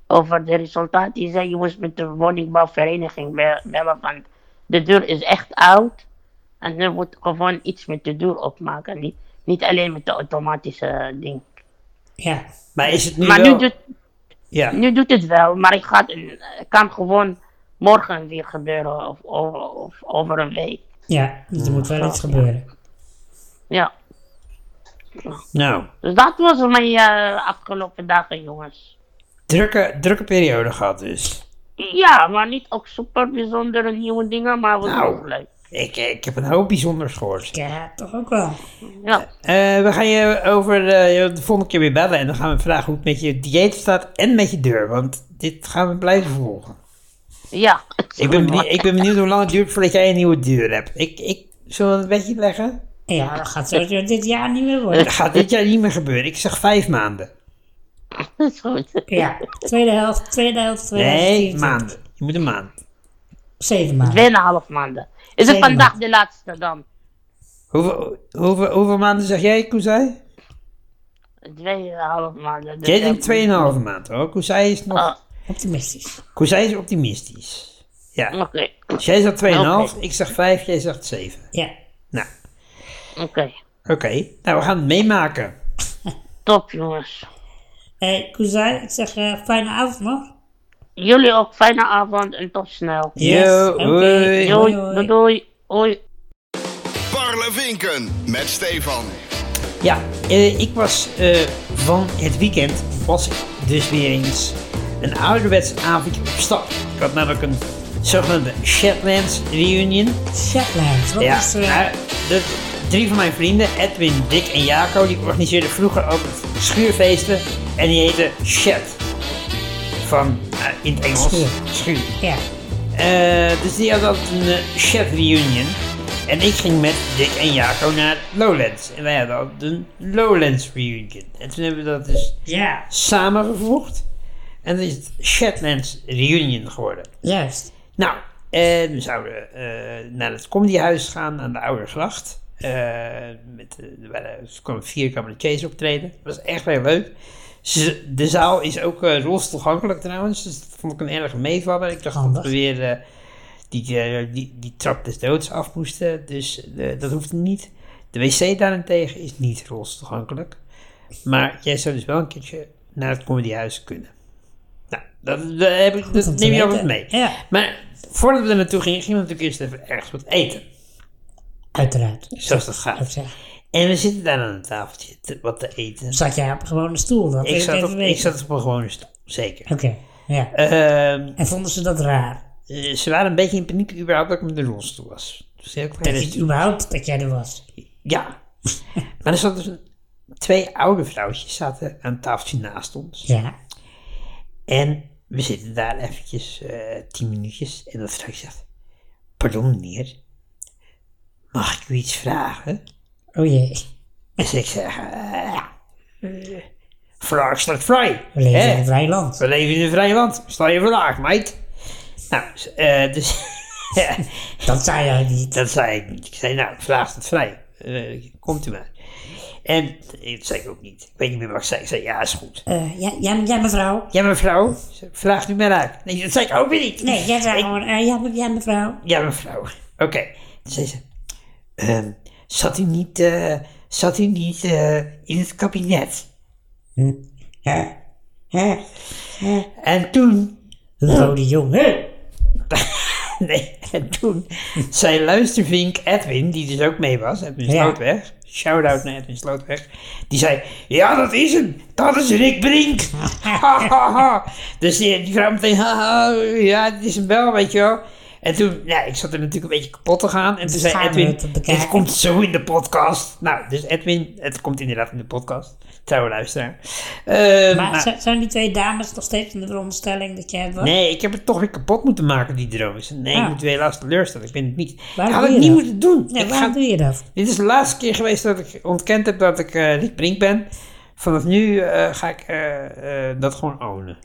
Speaker 5: over de resultaten. Hij zei, je moest met de woningbouwvereniging be- bellen, want de deur is echt oud. En er moet gewoon iets met de deur opmaken, niet, niet alleen met de automatische eh, ding.
Speaker 2: Ja.
Speaker 1: Maar is het nu
Speaker 5: Maar
Speaker 1: wel...
Speaker 5: nu doet,
Speaker 1: ja.
Speaker 5: nu doet het wel, maar ik ga, het eh, kan gewoon morgen weer gebeuren of, of, of over een week.
Speaker 2: Ja, dus er moet wel iets gebeuren.
Speaker 5: Ja,
Speaker 1: Nou,
Speaker 5: dus dat was mijn eh, afgelopen dagen jongens.
Speaker 1: drukke, drukke periode gehad dus.
Speaker 5: Ja, maar niet ook super bijzondere nieuwe dingen, maar wel
Speaker 1: Nou.
Speaker 5: ook leuk.
Speaker 1: Ik, ik heb een hoop bijzonders gehoord.
Speaker 2: Ja, toch ook wel.
Speaker 5: Ja.
Speaker 1: Eh, we gaan je over eh, de volgende keer weer bellen en dan gaan we vragen hoe het met je dieet staat en met je deur. Want dit gaan we blijven volgen.
Speaker 5: ja.
Speaker 1: Ik ben, benieu- ik ben benieuwd hoe lang het duurt voordat jij een nieuwe deur hebt. Ik, ik, zullen we een beetje leggen?
Speaker 2: Ja, dat gaat sowieso dit jaar niet meer
Speaker 1: Dat
Speaker 2: worden.
Speaker 1: gaat dit jaar niet meer gebeuren. Ik zeg vijf maanden.
Speaker 5: Dat is goed.
Speaker 2: Ja, tweede helft, tweede helft, tweede
Speaker 1: Nee, maanden. Je moet een maand.
Speaker 2: Zeven maanden.
Speaker 5: Tweeënhalf maanden. Is het
Speaker 2: Tweede
Speaker 5: vandaag
Speaker 2: maand.
Speaker 5: de laatste dan?
Speaker 1: Hoeveel, hoeveel, hoeveel maanden zeg jij, Koezai?
Speaker 5: Tweeënhalf maanden. Dus
Speaker 1: Jij
Speaker 5: ja,
Speaker 1: denkt 2,5 maand hoor. Koezai is nog.
Speaker 5: Ah,
Speaker 2: Optimistisch.
Speaker 1: Koezij is optimistisch. Ja.
Speaker 5: Oké,
Speaker 1: Dus jij zegt 2,5,
Speaker 5: Ah. Oké.
Speaker 1: ik zeg 5, jij zegt 7.
Speaker 2: Ja.
Speaker 1: Nou,
Speaker 5: oké.
Speaker 1: oké. Nou, we gaan het meemaken.
Speaker 5: Top jongens.
Speaker 2: Hé, hey, Koezai, ik zeg eh, fijne avond nog.
Speaker 5: Jullie ook fijne avond en tot snel.
Speaker 2: Yes,
Speaker 1: Yo,
Speaker 2: oké.
Speaker 1: hoi.
Speaker 5: Doei,
Speaker 2: Hoi, hoi.
Speaker 5: doei, doei. Hoi.
Speaker 4: Parlevinken met Stefan.
Speaker 1: Ja, eh, ik was eh, van het weekend, was ik dus weer eens een ouderwets avondje op stap. Ik had namelijk een zogenaamde Shetlands reunion.
Speaker 2: Shetlands, wat
Speaker 1: Ja,
Speaker 2: is... eh,
Speaker 1: nou, dat, drie van mijn vrienden, Edwin, Dick en Jaco, die organiseerden vroeger ook schuurfeesten en die heten Shet. Van, eh, in het Engels,
Speaker 2: Schuur.
Speaker 1: schuur.
Speaker 2: ja.
Speaker 1: Eh, dus die had altijd een eh, Shet reunion. En ik ging met Dick en Jaco naar Lowlands. En wij hadden altijd een Lowlands reunion. En toen hebben we dat dus
Speaker 2: Ja,
Speaker 1: samengevoegd. En dat is het Shetlands reunion geworden.
Speaker 2: juist.
Speaker 1: Nou, en we zouden eh, naar het comedyhuis gaan aan de Oude Gracht. Eh, met, eh, er waren- er kwamen vier cabaretiers optreden. Dat was echt heel leuk. Ze- de zaal is ook eh rolstoelgankelijk trouwens. Dus dat vond ik een erg meevaller. Ik dacht dat
Speaker 2: Handig.
Speaker 1: we weer eh, die, eh, die, die trap des doods af moesten. Dus eh, dat hoefde niet. De wc daarentegen is niet rolstoelgankelijk. Maar jij zou dus wel een keertje naar het comedyhuis kunnen. Nou, dat, dat, heb ik,
Speaker 2: om
Speaker 1: dat
Speaker 2: te
Speaker 1: Dus neem je altijd
Speaker 2: weten.
Speaker 1: mee.
Speaker 2: Ja.
Speaker 1: Maar voordat we er naartoe gingen, gingen we natuurlijk eerst even ergens wat eten.
Speaker 2: Uiteraard.
Speaker 1: Zoals dat
Speaker 2: Zou ik
Speaker 1: gaat.
Speaker 2: zeggen.
Speaker 1: En we zitten daar aan een tafeltje te- wat te eten.
Speaker 2: Zat jij op een gewone stoel? Dat wil
Speaker 1: Ik
Speaker 2: ik
Speaker 1: zat,
Speaker 2: even
Speaker 1: op,
Speaker 2: weten.
Speaker 1: ik zat op een gewone stoel, zeker.
Speaker 2: Oké, ja.
Speaker 1: Ehm,
Speaker 2: En vonden ze dat raar?
Speaker 1: eh, ze waren een beetje in paniek überhaupt dat ik met een rolstoel was. Dus heel klein.
Speaker 2: Dat je überhaupt dat jij er was?
Speaker 1: Ja. maar er zat dus een, twee oude vrouwtjes zaten aan een tafeltje naast ons.
Speaker 2: Ja.
Speaker 1: En we zitten daar eventjes eh, tien minuutjes. En dat vrouwtje zegt, pardon meneer, mag ik u iets vragen?
Speaker 2: Oh jee.
Speaker 1: Dus ik zeg, eh, ja, eh, vraag staat vrij.
Speaker 2: We leven
Speaker 1: hè?
Speaker 2: in een vrij land.
Speaker 1: We leven in een vrij land. Stel je vraag, meid. Nou, s- eh, dus Ja,
Speaker 2: Dat zei jij niet.
Speaker 1: dat zei ik niet. Ik zei, nou, ik vraag het vrij. Eh, komt u maar. En eh, dat zei ik ook niet. Ik weet niet meer wat ik zei. Ik zei, ja, is goed.
Speaker 2: Eh, ja, ja, ja, mevrouw.
Speaker 1: Ja, mevrouw, vraag nu maar uit. Nee, dat zei ik ook weer niet.
Speaker 2: Nee, jij zei
Speaker 1: Ik-
Speaker 2: gewoon, eh, ja, me- ja, mevrouw.
Speaker 1: Ja, mevrouw. Oké. Toen zei ze, ehm, zat u niet, eh, zat u niet eh, in het kabinet?
Speaker 2: Ja.
Speaker 1: En toen,
Speaker 2: Rode jongen.
Speaker 1: nee, en toen zei luistervink Edwin, die dus ook mee was, Edwin
Speaker 2: Ja.
Speaker 1: Slootweg, shout-out naar Edwin Slootweg, die zei, ja, dat is hem, dat is Rick Brink. Ha, ha, ha. dus die, die vrouw meteen, ha, ha, ja, dit is hem wel, weet je wel. En toen, nou, ik zat er natuurlijk een beetje kapot te gaan. En toen zei
Speaker 2: Schaamte
Speaker 1: Edwin,
Speaker 2: te bekijken.
Speaker 1: dit komt zo in de podcast. Nou, dus Edwin, het komt inderdaad in de podcast. Trouwe luisteraar. Ehm,
Speaker 2: Maar
Speaker 1: maar-
Speaker 2: z- zijn die twee dames nog steeds in de veronderstelling dat jij het was?
Speaker 1: Nee, ik heb het toch weer kapot moeten maken, die droom. Ik zei, Nee,
Speaker 2: Ah.
Speaker 1: ik moet u helaas teleurstellen. Ik ben het niet.
Speaker 2: Waarom
Speaker 1: ik had
Speaker 2: doe
Speaker 1: het
Speaker 2: je
Speaker 1: niet
Speaker 2: dat?
Speaker 1: moeten doen.
Speaker 2: Nee,
Speaker 1: Ik
Speaker 2: waarom
Speaker 1: ga-
Speaker 2: doe je dat?
Speaker 1: dit is de laatste keer geweest dat ik ontkend heb dat ik eh Rick Brink ben. Vanaf nu eh, ga ik eh, eh, dat gewoon ownen.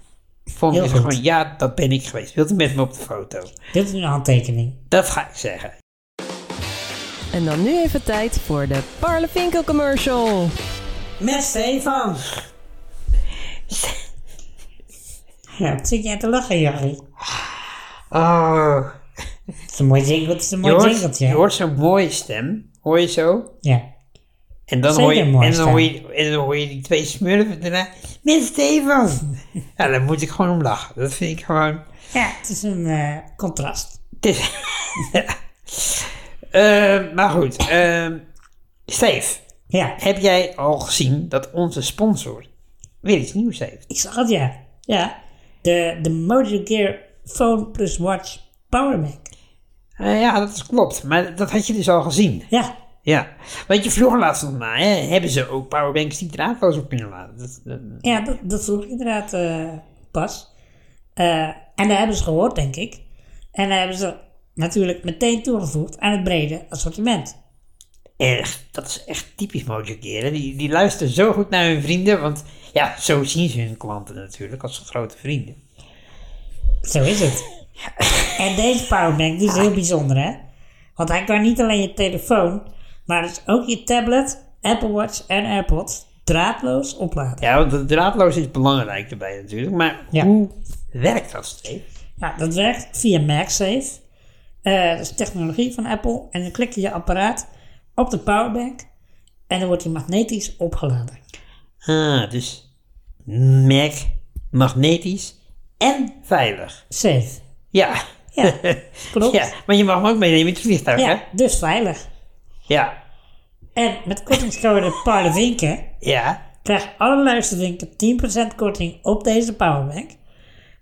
Speaker 1: Volgende
Speaker 2: Heel
Speaker 1: keer
Speaker 2: goed.
Speaker 1: gewoon, ja, dat ben ik geweest. Wilt u met me op de foto?
Speaker 2: Dit is een handtekening.
Speaker 1: Dat ga ik zeggen.
Speaker 3: En dan nu even tijd voor de Parlevinkel commercial.
Speaker 2: Met Stefan. Ja, wat zit jij te lachen, Jarrie?
Speaker 1: Oh,
Speaker 2: Het is een mooi jingle, het is een
Speaker 1: je
Speaker 2: mooi
Speaker 1: hoort,
Speaker 2: jingeltje.
Speaker 1: je hoort zo'n mooie stem. Hoor je zo?
Speaker 2: Ja.
Speaker 1: En dan,
Speaker 2: Zeker
Speaker 1: hoor je,
Speaker 2: een mooie
Speaker 1: en, dan
Speaker 2: stem.
Speaker 1: hoor je, en dan hoor je die twee smurfen daarna. Met Stefan! ja, daar moet ik gewoon om lachen. Dat vind ik gewoon...
Speaker 2: ja, het is een eh, contrast.
Speaker 1: Het is- Eh, maar goed, ehm Steve,
Speaker 2: Ja,
Speaker 1: heb jij al gezien dat onze sponsor weer iets nieuws heeft?
Speaker 2: ik zag het, ja. Ja, de, de Mojo Gear Phone plus Watch Power Mac.
Speaker 1: Eh, ja, dat is klopt, maar dat had je dus al gezien.
Speaker 2: Ja,
Speaker 1: Ja, want je vroeg laatst nog na, hè, hebben ze ook powerbanks die draadloos op kunnen laden? Dat, eh, dat-
Speaker 2: Ja, dat, dat vroeg ik inderdaad eh, pas. Eh, en daar hebben ze gehoord, denk ik. En daar hebben ze natuurlijk meteen toegevoegd aan het brede assortiment.
Speaker 1: echt, dat is echt typisch Mojo Gear, hè. Die, die luisteren zo goed naar hun vrienden, want ja, zo zien ze hun klanten natuurlijk, als ze grote vrienden.
Speaker 2: Zo is het. en deze powerbank die is heel bijzonder, hè? Want hij kan niet alleen je telefoon, maar dus ook je tablet, Apple Watch en AirPods draadloos opladen.
Speaker 1: Ja, want dat draadloos is belangrijk erbij natuurlijk, maar
Speaker 2: Ja.
Speaker 1: hoe werkt dat, Steve?
Speaker 2: Ja, dat werkt via MagSafe. Eh, dat is technologie van Apple. En dan klik je je apparaat op de powerbank en dan wordt hij magnetisch opgeladen.
Speaker 1: Ah, dus Mac, magnetisch en veilig.
Speaker 2: Safe.
Speaker 1: Ja.
Speaker 2: Ja, klopt.
Speaker 1: ja, maar je mag hem ook meenemen in het vliegtuig, hè?
Speaker 2: Ja, dus veilig.
Speaker 1: Ja.
Speaker 2: En met kortingscode Paardenwinken
Speaker 1: Ja.
Speaker 2: krijgt alle luisterwinken 10% korting op deze powerbank.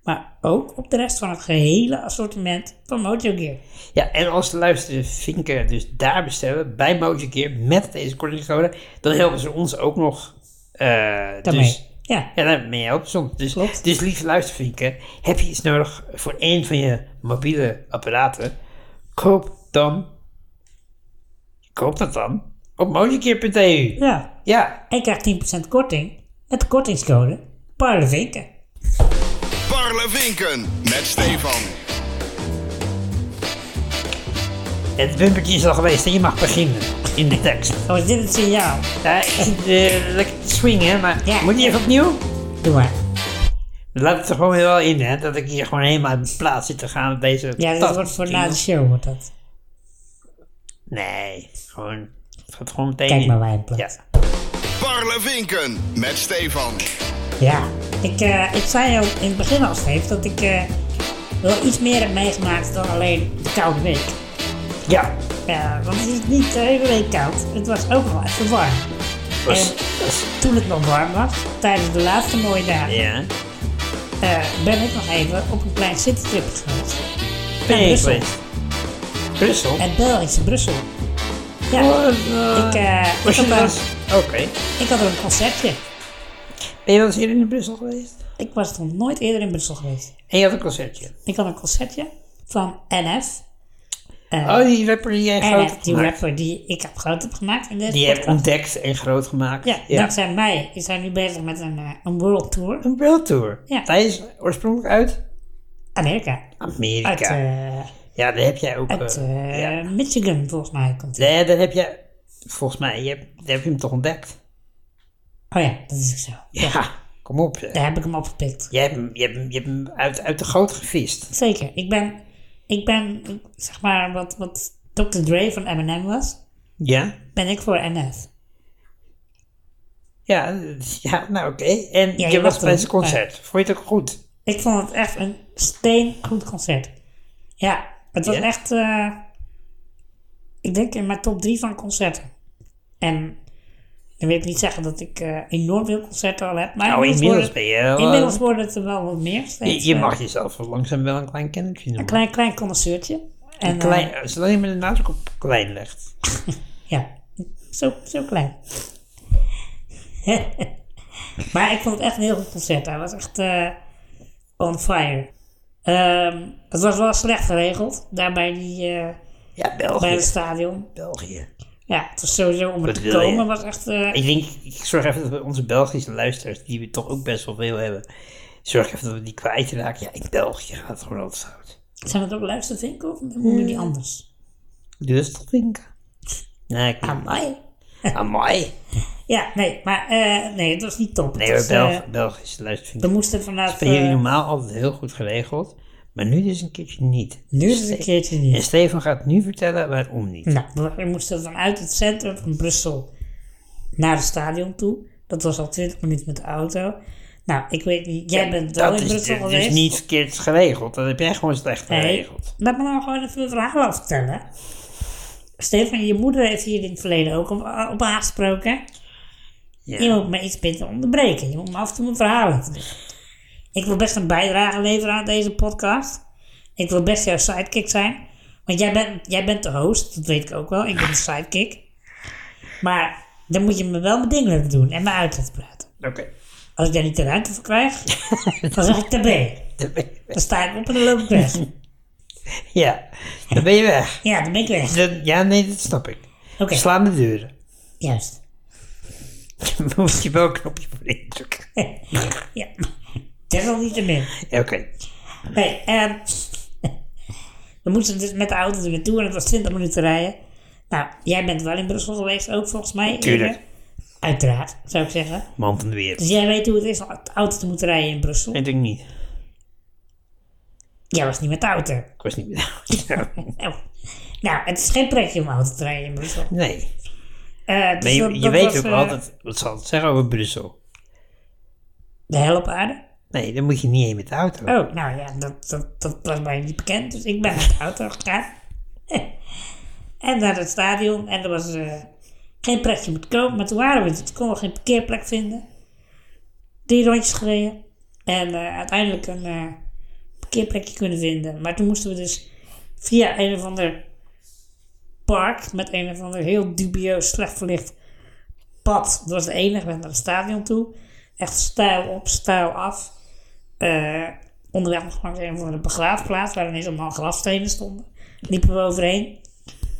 Speaker 2: Maar ook op de rest van het gehele assortiment van Mojo Gear.
Speaker 1: Ja, en als de luisteren vinken dus daar bestellen, bij Mojo Gear, met deze kortingscode, dan helpen ze ons ook nog. eh,
Speaker 2: Daarmee.
Speaker 1: Dus,
Speaker 2: Ja,
Speaker 1: ja, daarmee helpen ze ons. Dus,
Speaker 2: Klopt.
Speaker 1: dus lieve luistervinken, heb je iets nodig voor één van je mobiele apparaten, koop dan, koop dat dan op mojogear.eu.
Speaker 2: ja.
Speaker 1: ja.
Speaker 2: En je krijgt 10% korting met de kortingscode Paardenwinken.
Speaker 4: Parlevinken met Stefan.
Speaker 1: Het bumpertje is al geweest en je mag beginnen in de tekst.
Speaker 2: Oh, is dit het signaal?
Speaker 1: Ja, ik zit eh, lekker te swingen, maar
Speaker 2: Ja.
Speaker 1: moet je even opnieuw?
Speaker 2: Doe maar.
Speaker 1: Laat het er gewoon weer wel in, hè, dat ik hier gewoon helemaal uit mijn plaats zit te gaan op deze...
Speaker 2: Ja, dat
Speaker 1: fantastische
Speaker 2: wordt voor na
Speaker 1: jingle.
Speaker 2: de show, wordt dat.
Speaker 1: Nee, gewoon... Het gaat gewoon meteen
Speaker 2: Kijk
Speaker 1: in.
Speaker 2: maar waar je hem
Speaker 1: Ja.
Speaker 2: plaatst.
Speaker 4: Parlevinken met Stefan.
Speaker 2: Ja, ik, eh, ik zei al in het begin al, Steve, dat ik eh, wel iets meer heb meegemaakt dan alleen de koude week.
Speaker 1: ja,
Speaker 2: Ja, want het is niet de hele week koud, het was ook wel even warm.
Speaker 1: was-
Speaker 2: En toen het nog warm was, tijdens de laatste mooie dagen,
Speaker 1: ja.
Speaker 2: eh, ben ik nog even op een klein citytrip geweest.
Speaker 1: Ben je
Speaker 2: Brussel.
Speaker 1: geweest? Brussel?
Speaker 2: Het Belgische Brussel. Ja,
Speaker 1: Wat, eh,
Speaker 2: ik, eh, ik,
Speaker 1: was je wel
Speaker 2: had daar,
Speaker 1: eens- Oké.
Speaker 2: ik had er een concertje.
Speaker 1: Ben je wel eens eerder in Brussel geweest?
Speaker 2: Ik was nog nooit eerder in Brussel geweest.
Speaker 1: En je had een concertje.
Speaker 2: Ik had een concertje van NF. Eh,
Speaker 1: Oh, die rapper die jij groot
Speaker 2: NF,
Speaker 1: hebt
Speaker 2: eh, die
Speaker 1: gemaakt.
Speaker 2: rapper die ik heb groot heb gemaakt in deze
Speaker 1: Die je hebt
Speaker 2: podcast.
Speaker 1: ontdekt en groot gemaakt.
Speaker 2: Ja, dankzij mij is hij nu bezig met een, eh, een world tour.
Speaker 1: Een world tour.
Speaker 2: Ja.
Speaker 1: Hij is oorspronkelijk uit
Speaker 2: Amerika.
Speaker 1: Amerika.
Speaker 2: Uit, eh,
Speaker 1: Ja, daar heb jij ook...
Speaker 2: Uit
Speaker 1: eh,
Speaker 2: eh,
Speaker 1: ja.
Speaker 2: Michigan, volgens mij. Komt die.
Speaker 1: Nee, daar heb jij... Volgens mij, je hebt, daar heb je hem toch ontdekt?
Speaker 2: Oh ja, dat is ook zo.
Speaker 1: Ja. Kom op. zeg.
Speaker 2: Daar heb ik hem opgepikt.
Speaker 1: Je hebt hem, je hebt hem, je hebt hem uit, uit de goot gevist.
Speaker 2: Zeker. Ik ben, ik ben zeg maar, wat, wat Dr. Dre van Eminem was,
Speaker 1: Ja?
Speaker 2: ben ik voor NF.
Speaker 1: Ja, ja nou oké. En
Speaker 2: Ja,
Speaker 1: je,
Speaker 2: je
Speaker 1: was
Speaker 2: was
Speaker 1: bij
Speaker 2: er,
Speaker 1: zijn concert. Vond je het ook goed?
Speaker 2: Ik vond het echt een steengoed concert. Ja, het was
Speaker 1: Ja?
Speaker 2: echt, eh, ik denk in mijn top drie van concerten. En dan wil ik niet zeggen dat ik eh, enorm veel concerten al heb, maar
Speaker 1: Nou, inmiddels
Speaker 2: worden,
Speaker 1: ben je wel, eh,
Speaker 2: inmiddels worden het er wel wat meer.
Speaker 1: Je,
Speaker 2: steeds,
Speaker 1: je
Speaker 2: eh,
Speaker 1: mag jezelf wel langzaam wel een klein kennisje noemen.
Speaker 2: Een klein, klein concertje. En,
Speaker 1: Een
Speaker 2: eh,
Speaker 1: klein, zolang je me de nadruk op klein legt.
Speaker 2: Ja, zo, zo klein. maar ik vond het echt een heel goed concert. Hij was echt eh, on fire. Ehm, het was wel slecht geregeld, daar bij, die, eh,
Speaker 1: Ja,
Speaker 2: bij
Speaker 1: België.
Speaker 2: het stadion.
Speaker 1: België.
Speaker 2: Ja, het was sowieso om er
Speaker 1: Wat
Speaker 2: te
Speaker 1: wil je?
Speaker 2: komen, was echt... eh,
Speaker 1: Ik denk, ik zorg even dat we onze Belgische luisteraars, die we toch ook best wel veel hebben, zorg even dat we die kwijtraken. Ja, in België gaat het gewoon altijd fout.
Speaker 2: zijn het ook luistervinken of doen die anders?
Speaker 1: Dus dat denk Nee, ik
Speaker 2: Amai.
Speaker 1: Amai.
Speaker 2: Ja, nee, maar eh, nee, het was niet top.
Speaker 1: Nee,
Speaker 2: Het
Speaker 1: hoor,
Speaker 2: was, eh,
Speaker 1: Belg, Belgische
Speaker 2: we
Speaker 1: luisteraars.
Speaker 2: moesten vanuit...
Speaker 1: Dat jullie
Speaker 2: eh,
Speaker 1: normaal altijd heel goed geregeld, maar nu dus een keertje niet.
Speaker 2: nu is het een keertje niet.
Speaker 1: En Stefan gaat nu vertellen waarom niet.
Speaker 2: Nou, we- we moesten vanuit het centrum van Brussel naar het stadion toe. Dat was al 20 minuten met de auto. Nou, ik weet niet, jij bent wel
Speaker 1: dat
Speaker 2: in
Speaker 1: is
Speaker 2: Brussel
Speaker 1: dus
Speaker 2: geweest.
Speaker 1: niet verkeerd geregeld. Dat heb jij gewoon slecht
Speaker 2: Nee.
Speaker 1: geregeld.
Speaker 2: Laat me nou gewoon even een verhaal afvertellen. Stefan, je moeder heeft hier in het verleden ook op, eh, op aangesproken.
Speaker 1: Ja.
Speaker 2: Je moet me iets beter onderbreken. Je moet me af en toe mijn verhaal laten doen. Ik wil best een bijdrage leveren aan deze podcast. Ik wil best jouw sidekick zijn. Want jij bent, jij bent de host, dat weet ik ook wel. Ik ben de sidekick. Maar dan moet je me wel mijn ding laten doen en me uit laten praten.
Speaker 1: Oké.
Speaker 2: Als ik daar niet de ruimte voor krijg, dan zeg ik tabé. Dan sta ik op en dan loop ik weg.
Speaker 1: Ja, dan ben je weg. Dus
Speaker 2: Ja, dan ben ik weg.
Speaker 1: Dan- ja, nee, dat snap ik.
Speaker 2: Oké,
Speaker 1: Slaan de deuren.
Speaker 2: juist.
Speaker 1: Dan moet je wel een knopje voor indrukken.
Speaker 2: Ja, desalniettemin.
Speaker 1: Ja, Oké.
Speaker 2: Nee, en we moesten dus met de auto er naartoe en het was 20 minuten rijden. Nou, jij bent wel in Brussel geweest ook volgens mij.
Speaker 1: Tuurlijk.
Speaker 2: eerder. Uiteraard, zou ik zeggen.
Speaker 1: Man van de wereld.
Speaker 2: Dus jij weet hoe het is om met de auto te moeten rijden in Brussel.
Speaker 1: Nee, denk ik niet.
Speaker 2: Jij was niet met de auto.
Speaker 1: Ik was niet meer.
Speaker 2: Nou, nou, het is geen pretje om auto te rijden in Brussel.
Speaker 1: nee.
Speaker 2: Eh, dus
Speaker 1: Maar je,
Speaker 2: dat-
Speaker 1: je
Speaker 2: dat
Speaker 1: weet
Speaker 2: was,
Speaker 1: ook
Speaker 2: eh,
Speaker 1: altijd wat ze altijd zeggen over Brussel.
Speaker 2: De hel op aarde.
Speaker 1: Nee, dan moet je niet heen met de auto.
Speaker 2: Oh, nou ja, dat, dat, dat was mij niet bekend. Dus ik ben met de auto gegaan. en naar het stadion. En er was eh, geen plekje om te kopen. Maar toen waren we het. Toen konden we geen parkeerplek vinden. Drie rondjes gereden. En eh, uiteindelijk een eh, parkeerplekje kunnen vinden. Maar toen moesten we dus via een of ander park. Met een of ander heel dubieus, slecht verlicht pad. Dat was de enige weg naar het stadion toe. Echt stijl op, stijl af eh onderweg nog langs een van de begraafplaats, waar ineens allemaal grafstenen stonden. Liepen we overheen.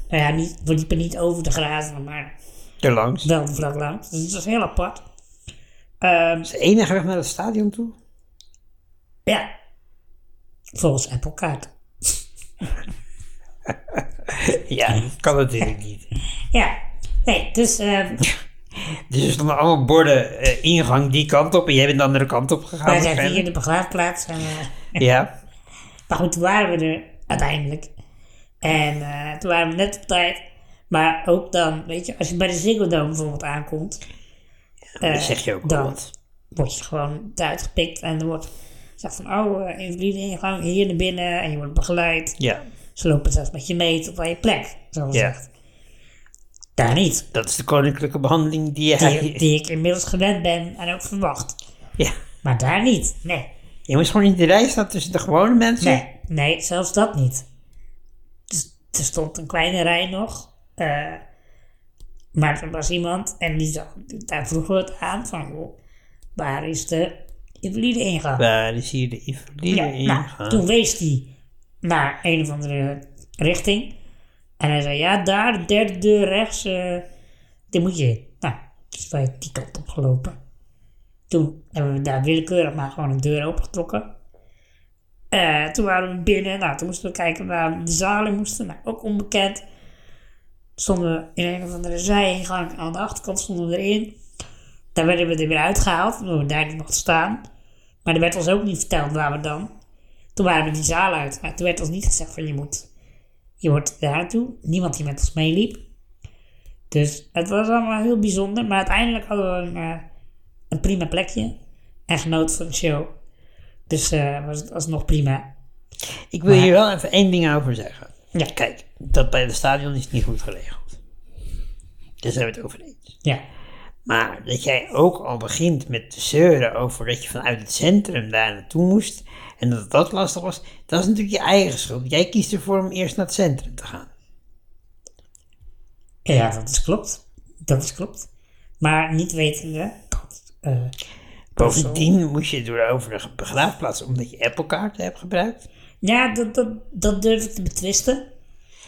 Speaker 2: Nou ja, niet, we liepen niet over de graven, maar
Speaker 1: Erlangs. Dat
Speaker 2: wel vlak langs. Dus het was heel apart. Ehm,
Speaker 1: is de enige weg naar het stadion toe.
Speaker 2: ja, volgens Apple Kaart.
Speaker 1: Ja, dat kan natuurlijk niet.
Speaker 2: Ja, nee, dus ehm,
Speaker 1: Dus er stonden allemaal borden eh, ingang die kant op en jij bent de andere kant op gegaan.
Speaker 2: wij zijn hier
Speaker 1: waarschijnlijk.
Speaker 2: in de begraafplaats. En, eh,
Speaker 1: Ja,
Speaker 2: Maar goed, toen waren we er uiteindelijk. En eh, toen waren we net op tijd. Maar ook dan, weet je, als je bij de Ziggo Dome bijvoorbeeld aankomt.
Speaker 1: dan
Speaker 2: eh,
Speaker 1: zeg je ook wel
Speaker 2: dan
Speaker 1: wat.
Speaker 2: word je gewoon eruit gepikt. En er wordt gezegd van, oh, eh, invalide ingang, hier naar binnen. En je wordt begeleid.
Speaker 1: Ja,
Speaker 2: Ze lopen zelfs met je mee tot aan je plek, zo
Speaker 1: ja.
Speaker 2: gezegd. Daar niet.
Speaker 1: Dat is de koninklijke behandeling die jij...
Speaker 2: Die, die ik inmiddels gewend ben en ook verwacht.
Speaker 1: Ja.
Speaker 2: Maar daar niet, nee.
Speaker 1: Je moest gewoon in de rij staan tussen de gewone mensen.
Speaker 2: Nee, nee, zelfs dat niet. Dus er stond een kleine rij nog. eh, maar er was iemand en die zag, daar vroegen we het aan van, joh, waar is de invalide ingang?
Speaker 1: Waar is hier de invalide
Speaker 2: ja, nou,
Speaker 1: ingang?
Speaker 2: toen wees hij naar een of andere richting. En hij zei, ja, daar, de derde deur rechts, eh daar moet je in. Nou, dus wij die kant op gelopen. Toen hebben we daar willekeurig maar gewoon een deur opengetrokken. Eh, toen waren we binnen. Nou, toen moesten we kijken waar we de zalen moesten. Nou, ook onbekend. Stonden we in een of andere zijingang. Aan de achterkant stonden we erin. Daar werden we er weer uitgehaald. Omdat we daar niet mochten staan. Maar er werd ons ook niet verteld waar we dan. Toen waren we die zaal uit. Maar toen werd ons niet gezegd van je moet... Je wordt daar naartoe. Niemand die met ons meeliep. Dus het was allemaal heel bijzonder. Maar uiteindelijk hadden we een, eh, een prima plekje. En genoten van de show. Dus eh, was het alsnog prima.
Speaker 1: Ik wil hier wel even één ding over zeggen.
Speaker 2: Ja,
Speaker 1: Kijk, dat bij het stadion is niet goed geregeld. Dus Daar zijn we het over eens.
Speaker 2: Ja.
Speaker 1: Maar dat jij ook al begint met te zeuren over dat je vanuit het centrum daar naartoe moest en dat dat lastig was, dat is natuurlijk je eigen schuld. Jij kiest ervoor om eerst naar het centrum te gaan.
Speaker 2: ja, dat is klopt. Dat is klopt. Maar niet wetende dat... eh,
Speaker 1: Bovendien moest je door de overige begraafplaats omdat je Apple-kaarten hebt gebruikt.
Speaker 2: ja, dat, dat, dat durf ik te betwisten.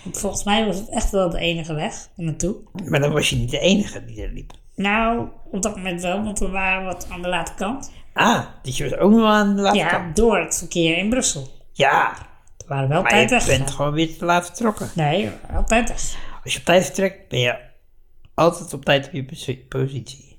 Speaker 2: Want volgens mij was het echt wel de enige weg er naartoe.
Speaker 1: Maar dan was je niet de enige die er liep.
Speaker 2: Nou, op dat moment wel, want we waren wat aan de late kant.
Speaker 1: Ah, dus je was ook nog wel aan de laatste
Speaker 2: ja,
Speaker 1: kant.
Speaker 2: door het verkeer in Brussel.
Speaker 1: Ja,
Speaker 2: We waren wel op
Speaker 1: maar je
Speaker 2: tijd weg.
Speaker 1: bent gewoon weer te laat vertrokken.
Speaker 2: Nee, we waren op tijd weg.
Speaker 1: Als je op tijd vertrekt, ben je altijd op tijd op je posi- positie.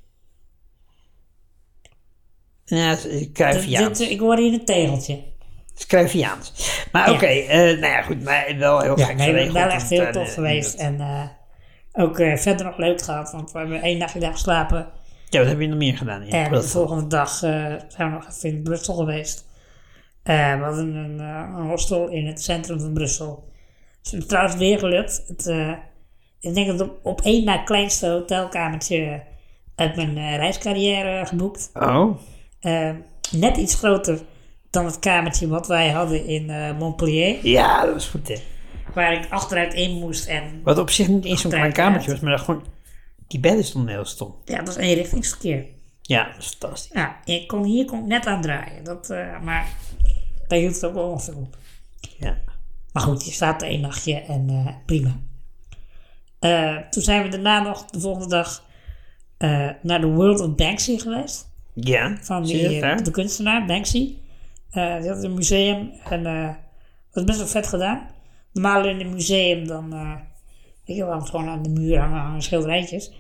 Speaker 1: Ja, het is
Speaker 2: Dit,
Speaker 1: Cruyffiaans.
Speaker 2: dit- eh, ik hoor hier een tegeltje.
Speaker 1: Het is Cruyffiaans. Maar
Speaker 2: Ja.
Speaker 1: oké, eh, nou ja, goed, maar wel heel
Speaker 2: Ja,
Speaker 1: gek
Speaker 2: nee,
Speaker 1: geregeld.
Speaker 2: wel echt heel
Speaker 1: en,
Speaker 2: tof
Speaker 1: eh,
Speaker 2: geweest.
Speaker 1: dat-
Speaker 2: En eh, ook eh, verder nog leuk gehad, want we hebben één dagje daar geslapen.
Speaker 1: Ja, wat heb je nog meer gedaan? In
Speaker 2: En de
Speaker 1: Brussel?
Speaker 2: volgende dag eh, zijn we nog even in Brussel geweest. Eh, we hadden een, eh, een hostel in het centrum van Brussel. Het is me trouwens weer gelukt. Het, eh, ik denk dat op, op één na kleinste hotelkamertje uit mijn eh, reiscarrière geboekt.
Speaker 1: Oh,
Speaker 2: Eh, net iets groter dan het kamertje wat wij hadden in eh, Montpellier.
Speaker 1: ja, dat was goed hè.
Speaker 2: Waar ik achteruit in moest en
Speaker 1: Wat op zich niet eens zo'n klein
Speaker 2: Achteruit,
Speaker 1: kamertje
Speaker 2: ja.
Speaker 1: was, maar dat gewoon, die bedden stonden heel stom.
Speaker 2: ja, dat was eenrichtingsverkeer.
Speaker 1: Ja, dat is fantastisch.
Speaker 2: Nou, ik kon hier kon ik net aan draaien. Dat, eh, maar daar hield het ook wel ongeveer op.
Speaker 1: Ja.
Speaker 2: Maar goed, je staat er één nachtje en eh, prima. Eh, toen zijn we daarna nog de volgende dag eh, naar de World of Banksy geweest.
Speaker 1: Ja,
Speaker 2: Van
Speaker 1: zie je
Speaker 2: die,
Speaker 1: dat
Speaker 2: eh,
Speaker 1: daar?
Speaker 2: de kunstenaar Banksy. Eh, die had een museum en eh dat was best wel vet gedaan. Normaal in een museum dan, eh weet je wel, gewoon aan de muur hangen, hangen schilderijtjes.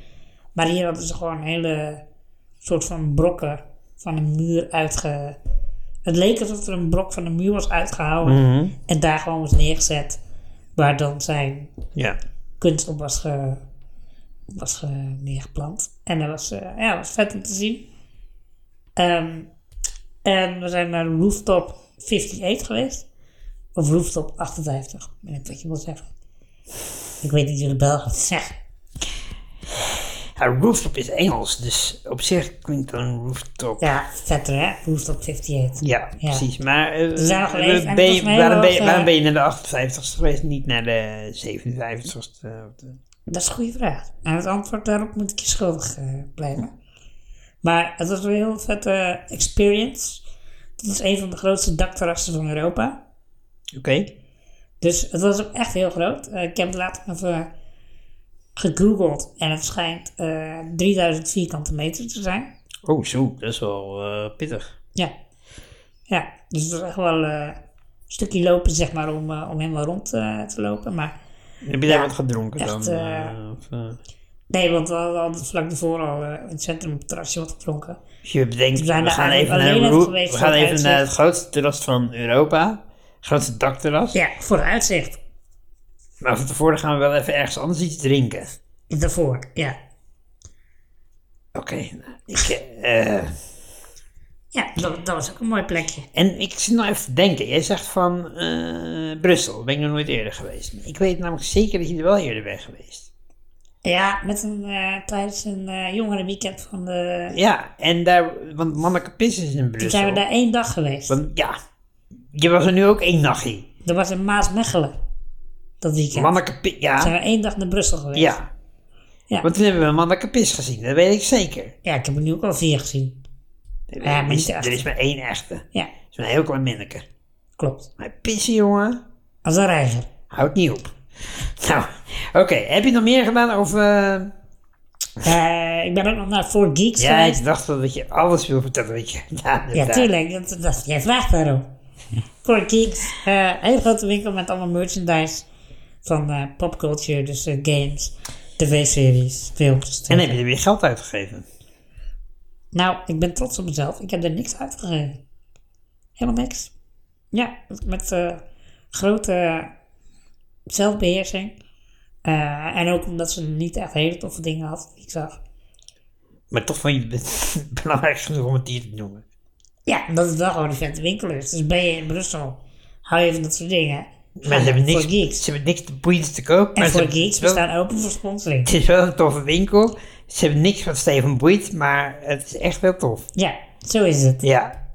Speaker 2: Maar hier hadden ze gewoon hele soort van brokken van een muur uitge... Het leek alsof er een brok van de muur was uitgehouden.
Speaker 1: Mhm.
Speaker 2: En daar gewoon was neergezet. Waar dan zijn
Speaker 1: Ja.
Speaker 2: kunst op was, ge, was ge- neergeplant. En dat was, eh, ja, was vet om te zien. Ehm, en we zijn naar Rooftop 58 geweest. Of Rooftop 58. Ik weet niet wat je wil zeggen. Ik weet niet hoe de Belgen het zeggen.
Speaker 1: ja, rooftop is Engels, dus op zich klinkt een rooftop
Speaker 2: Ja, vetter hè? Rooftop 58.
Speaker 1: Ja, precies. Maar eh,
Speaker 2: zijn nog geweest en
Speaker 1: ben je-
Speaker 2: volgens mij
Speaker 1: waarom, ben je,
Speaker 2: wel,
Speaker 1: waarom
Speaker 2: eh,
Speaker 1: ben je naar de 58ste geweest, niet naar de 57ste? eh, of de-
Speaker 2: Dat is een goede vraag. En het antwoord daarop moet ik je schuldig eh, blijven. Maar het was een heel vette experience. Het is een van de grootste dakterrassen van Europa.
Speaker 1: Oké.
Speaker 2: Dus het was ook echt heel groot. Eh, ik heb het later even gegoogeld en het schijnt eh, 3000 vierkante meter te zijn.
Speaker 1: Oh, zo, dat is wel eh, pittig.
Speaker 2: Ja. Ja, dus het was echt wel eh, een stukje lopen, zeg maar, om, eh, om helemaal rond eh, te lopen. Maar
Speaker 1: Heb je daar wat gedronken
Speaker 2: echt,
Speaker 1: dan?
Speaker 2: eh,
Speaker 1: eh, of, eh?
Speaker 2: nee, want we hadden al vlak daarvoor al eh, in het centrum op het terrasje wat gedronken.
Speaker 1: Als je bedenkt,
Speaker 2: zijn
Speaker 1: we
Speaker 2: daar
Speaker 1: gaan even,
Speaker 2: eigenlijk
Speaker 1: naar,
Speaker 2: alleen
Speaker 1: Roo-
Speaker 2: even
Speaker 1: we
Speaker 2: geweest
Speaker 1: gaan
Speaker 2: voor het
Speaker 1: even naar het
Speaker 2: uitzicht.
Speaker 1: grootste terras van Europa. Grootste dakterras.
Speaker 2: Ja, voor het uitzicht.
Speaker 1: Maar van tevoren gaan we wel even ergens anders iets drinken.
Speaker 2: Daarvoor, ja.
Speaker 1: Oké. nou, ik, eh,
Speaker 2: Ja, dat, dat was ook een mooi plekje.
Speaker 1: En ik zit nog even te denken. Jij zegt van eh, Brussel. Ben ik nog nooit eerder geweest. Ik weet namelijk zeker dat je er wel eerder bent geweest.
Speaker 2: Ja, met een, eh, tijdens een eh, jongerenweekend van de...
Speaker 1: Ja, en daar, want Manneke Pis is in Brussel.
Speaker 2: Toen zijn we daar één dag geweest.
Speaker 1: Want ja, je was er nu ook één nachtje.
Speaker 2: Dat was in Maasmechelen. Dat weekend.
Speaker 1: Manneke Pis,
Speaker 2: Zijn
Speaker 1: ja.
Speaker 2: we één dag naar Brussel geweest.
Speaker 1: Ja.
Speaker 2: Ja.
Speaker 1: Want toen hebben we Manneke Pis gezien, dat weet ik zeker.
Speaker 2: Ja, ik heb er nu ook al vier gezien. maar
Speaker 1: er,
Speaker 2: niet
Speaker 1: is,
Speaker 2: de echte.
Speaker 1: er is maar één echte. Het
Speaker 2: Ja,
Speaker 1: is maar een heel klein minneke.
Speaker 2: klopt.
Speaker 1: Maar pissen, jongen,
Speaker 2: Als een reiger.
Speaker 1: houdt niet op. Nou, oké. Heb je nog meer gedaan? Of, eh,
Speaker 2: Eh, ik ben ook nog naar Four Geeks
Speaker 1: ja,
Speaker 2: geweest.
Speaker 1: ik dacht wel dat je alles wil vertellen wat je gedaan hebt
Speaker 2: Ja,
Speaker 1: daar.
Speaker 2: tuurlijk. Dat, dat, jij vraagt daarom. Core Geeks, eh, hele grote winkel met allemaal merchandise van eh, popculture, dus eh, games, tv-series, films.
Speaker 1: En heb je er weer geld uitgegeven?
Speaker 2: Nou, ik ben trots op mezelf. Ik heb er niks uitgegeven. Helemaal niks. Ja, met eh, grote zelfbeheersing. Eh, en ook omdat ze niet echt hele toffe dingen had die ik zag.
Speaker 1: Maar toch vond je het belangrijk genoeg om het hier te noemen.
Speaker 2: Ja, omdat het wel gewoon een vette winkel is. Dus ben je in Brussel, hou je van dat soort dingen.
Speaker 1: Maar ze hebben
Speaker 2: Voor
Speaker 1: niks,
Speaker 2: geeks.
Speaker 1: ze hebben niks te boeiends te koop.
Speaker 2: En
Speaker 1: Maar ze
Speaker 2: voor
Speaker 1: hebben
Speaker 2: geeks, we
Speaker 1: wel-
Speaker 2: staan open voor sponsoring.
Speaker 1: Het is wel een toffe winkel. Ze hebben niks van Steven Boeit, maar het is echt wel tof.
Speaker 2: Ja, zo is het.
Speaker 1: Ja,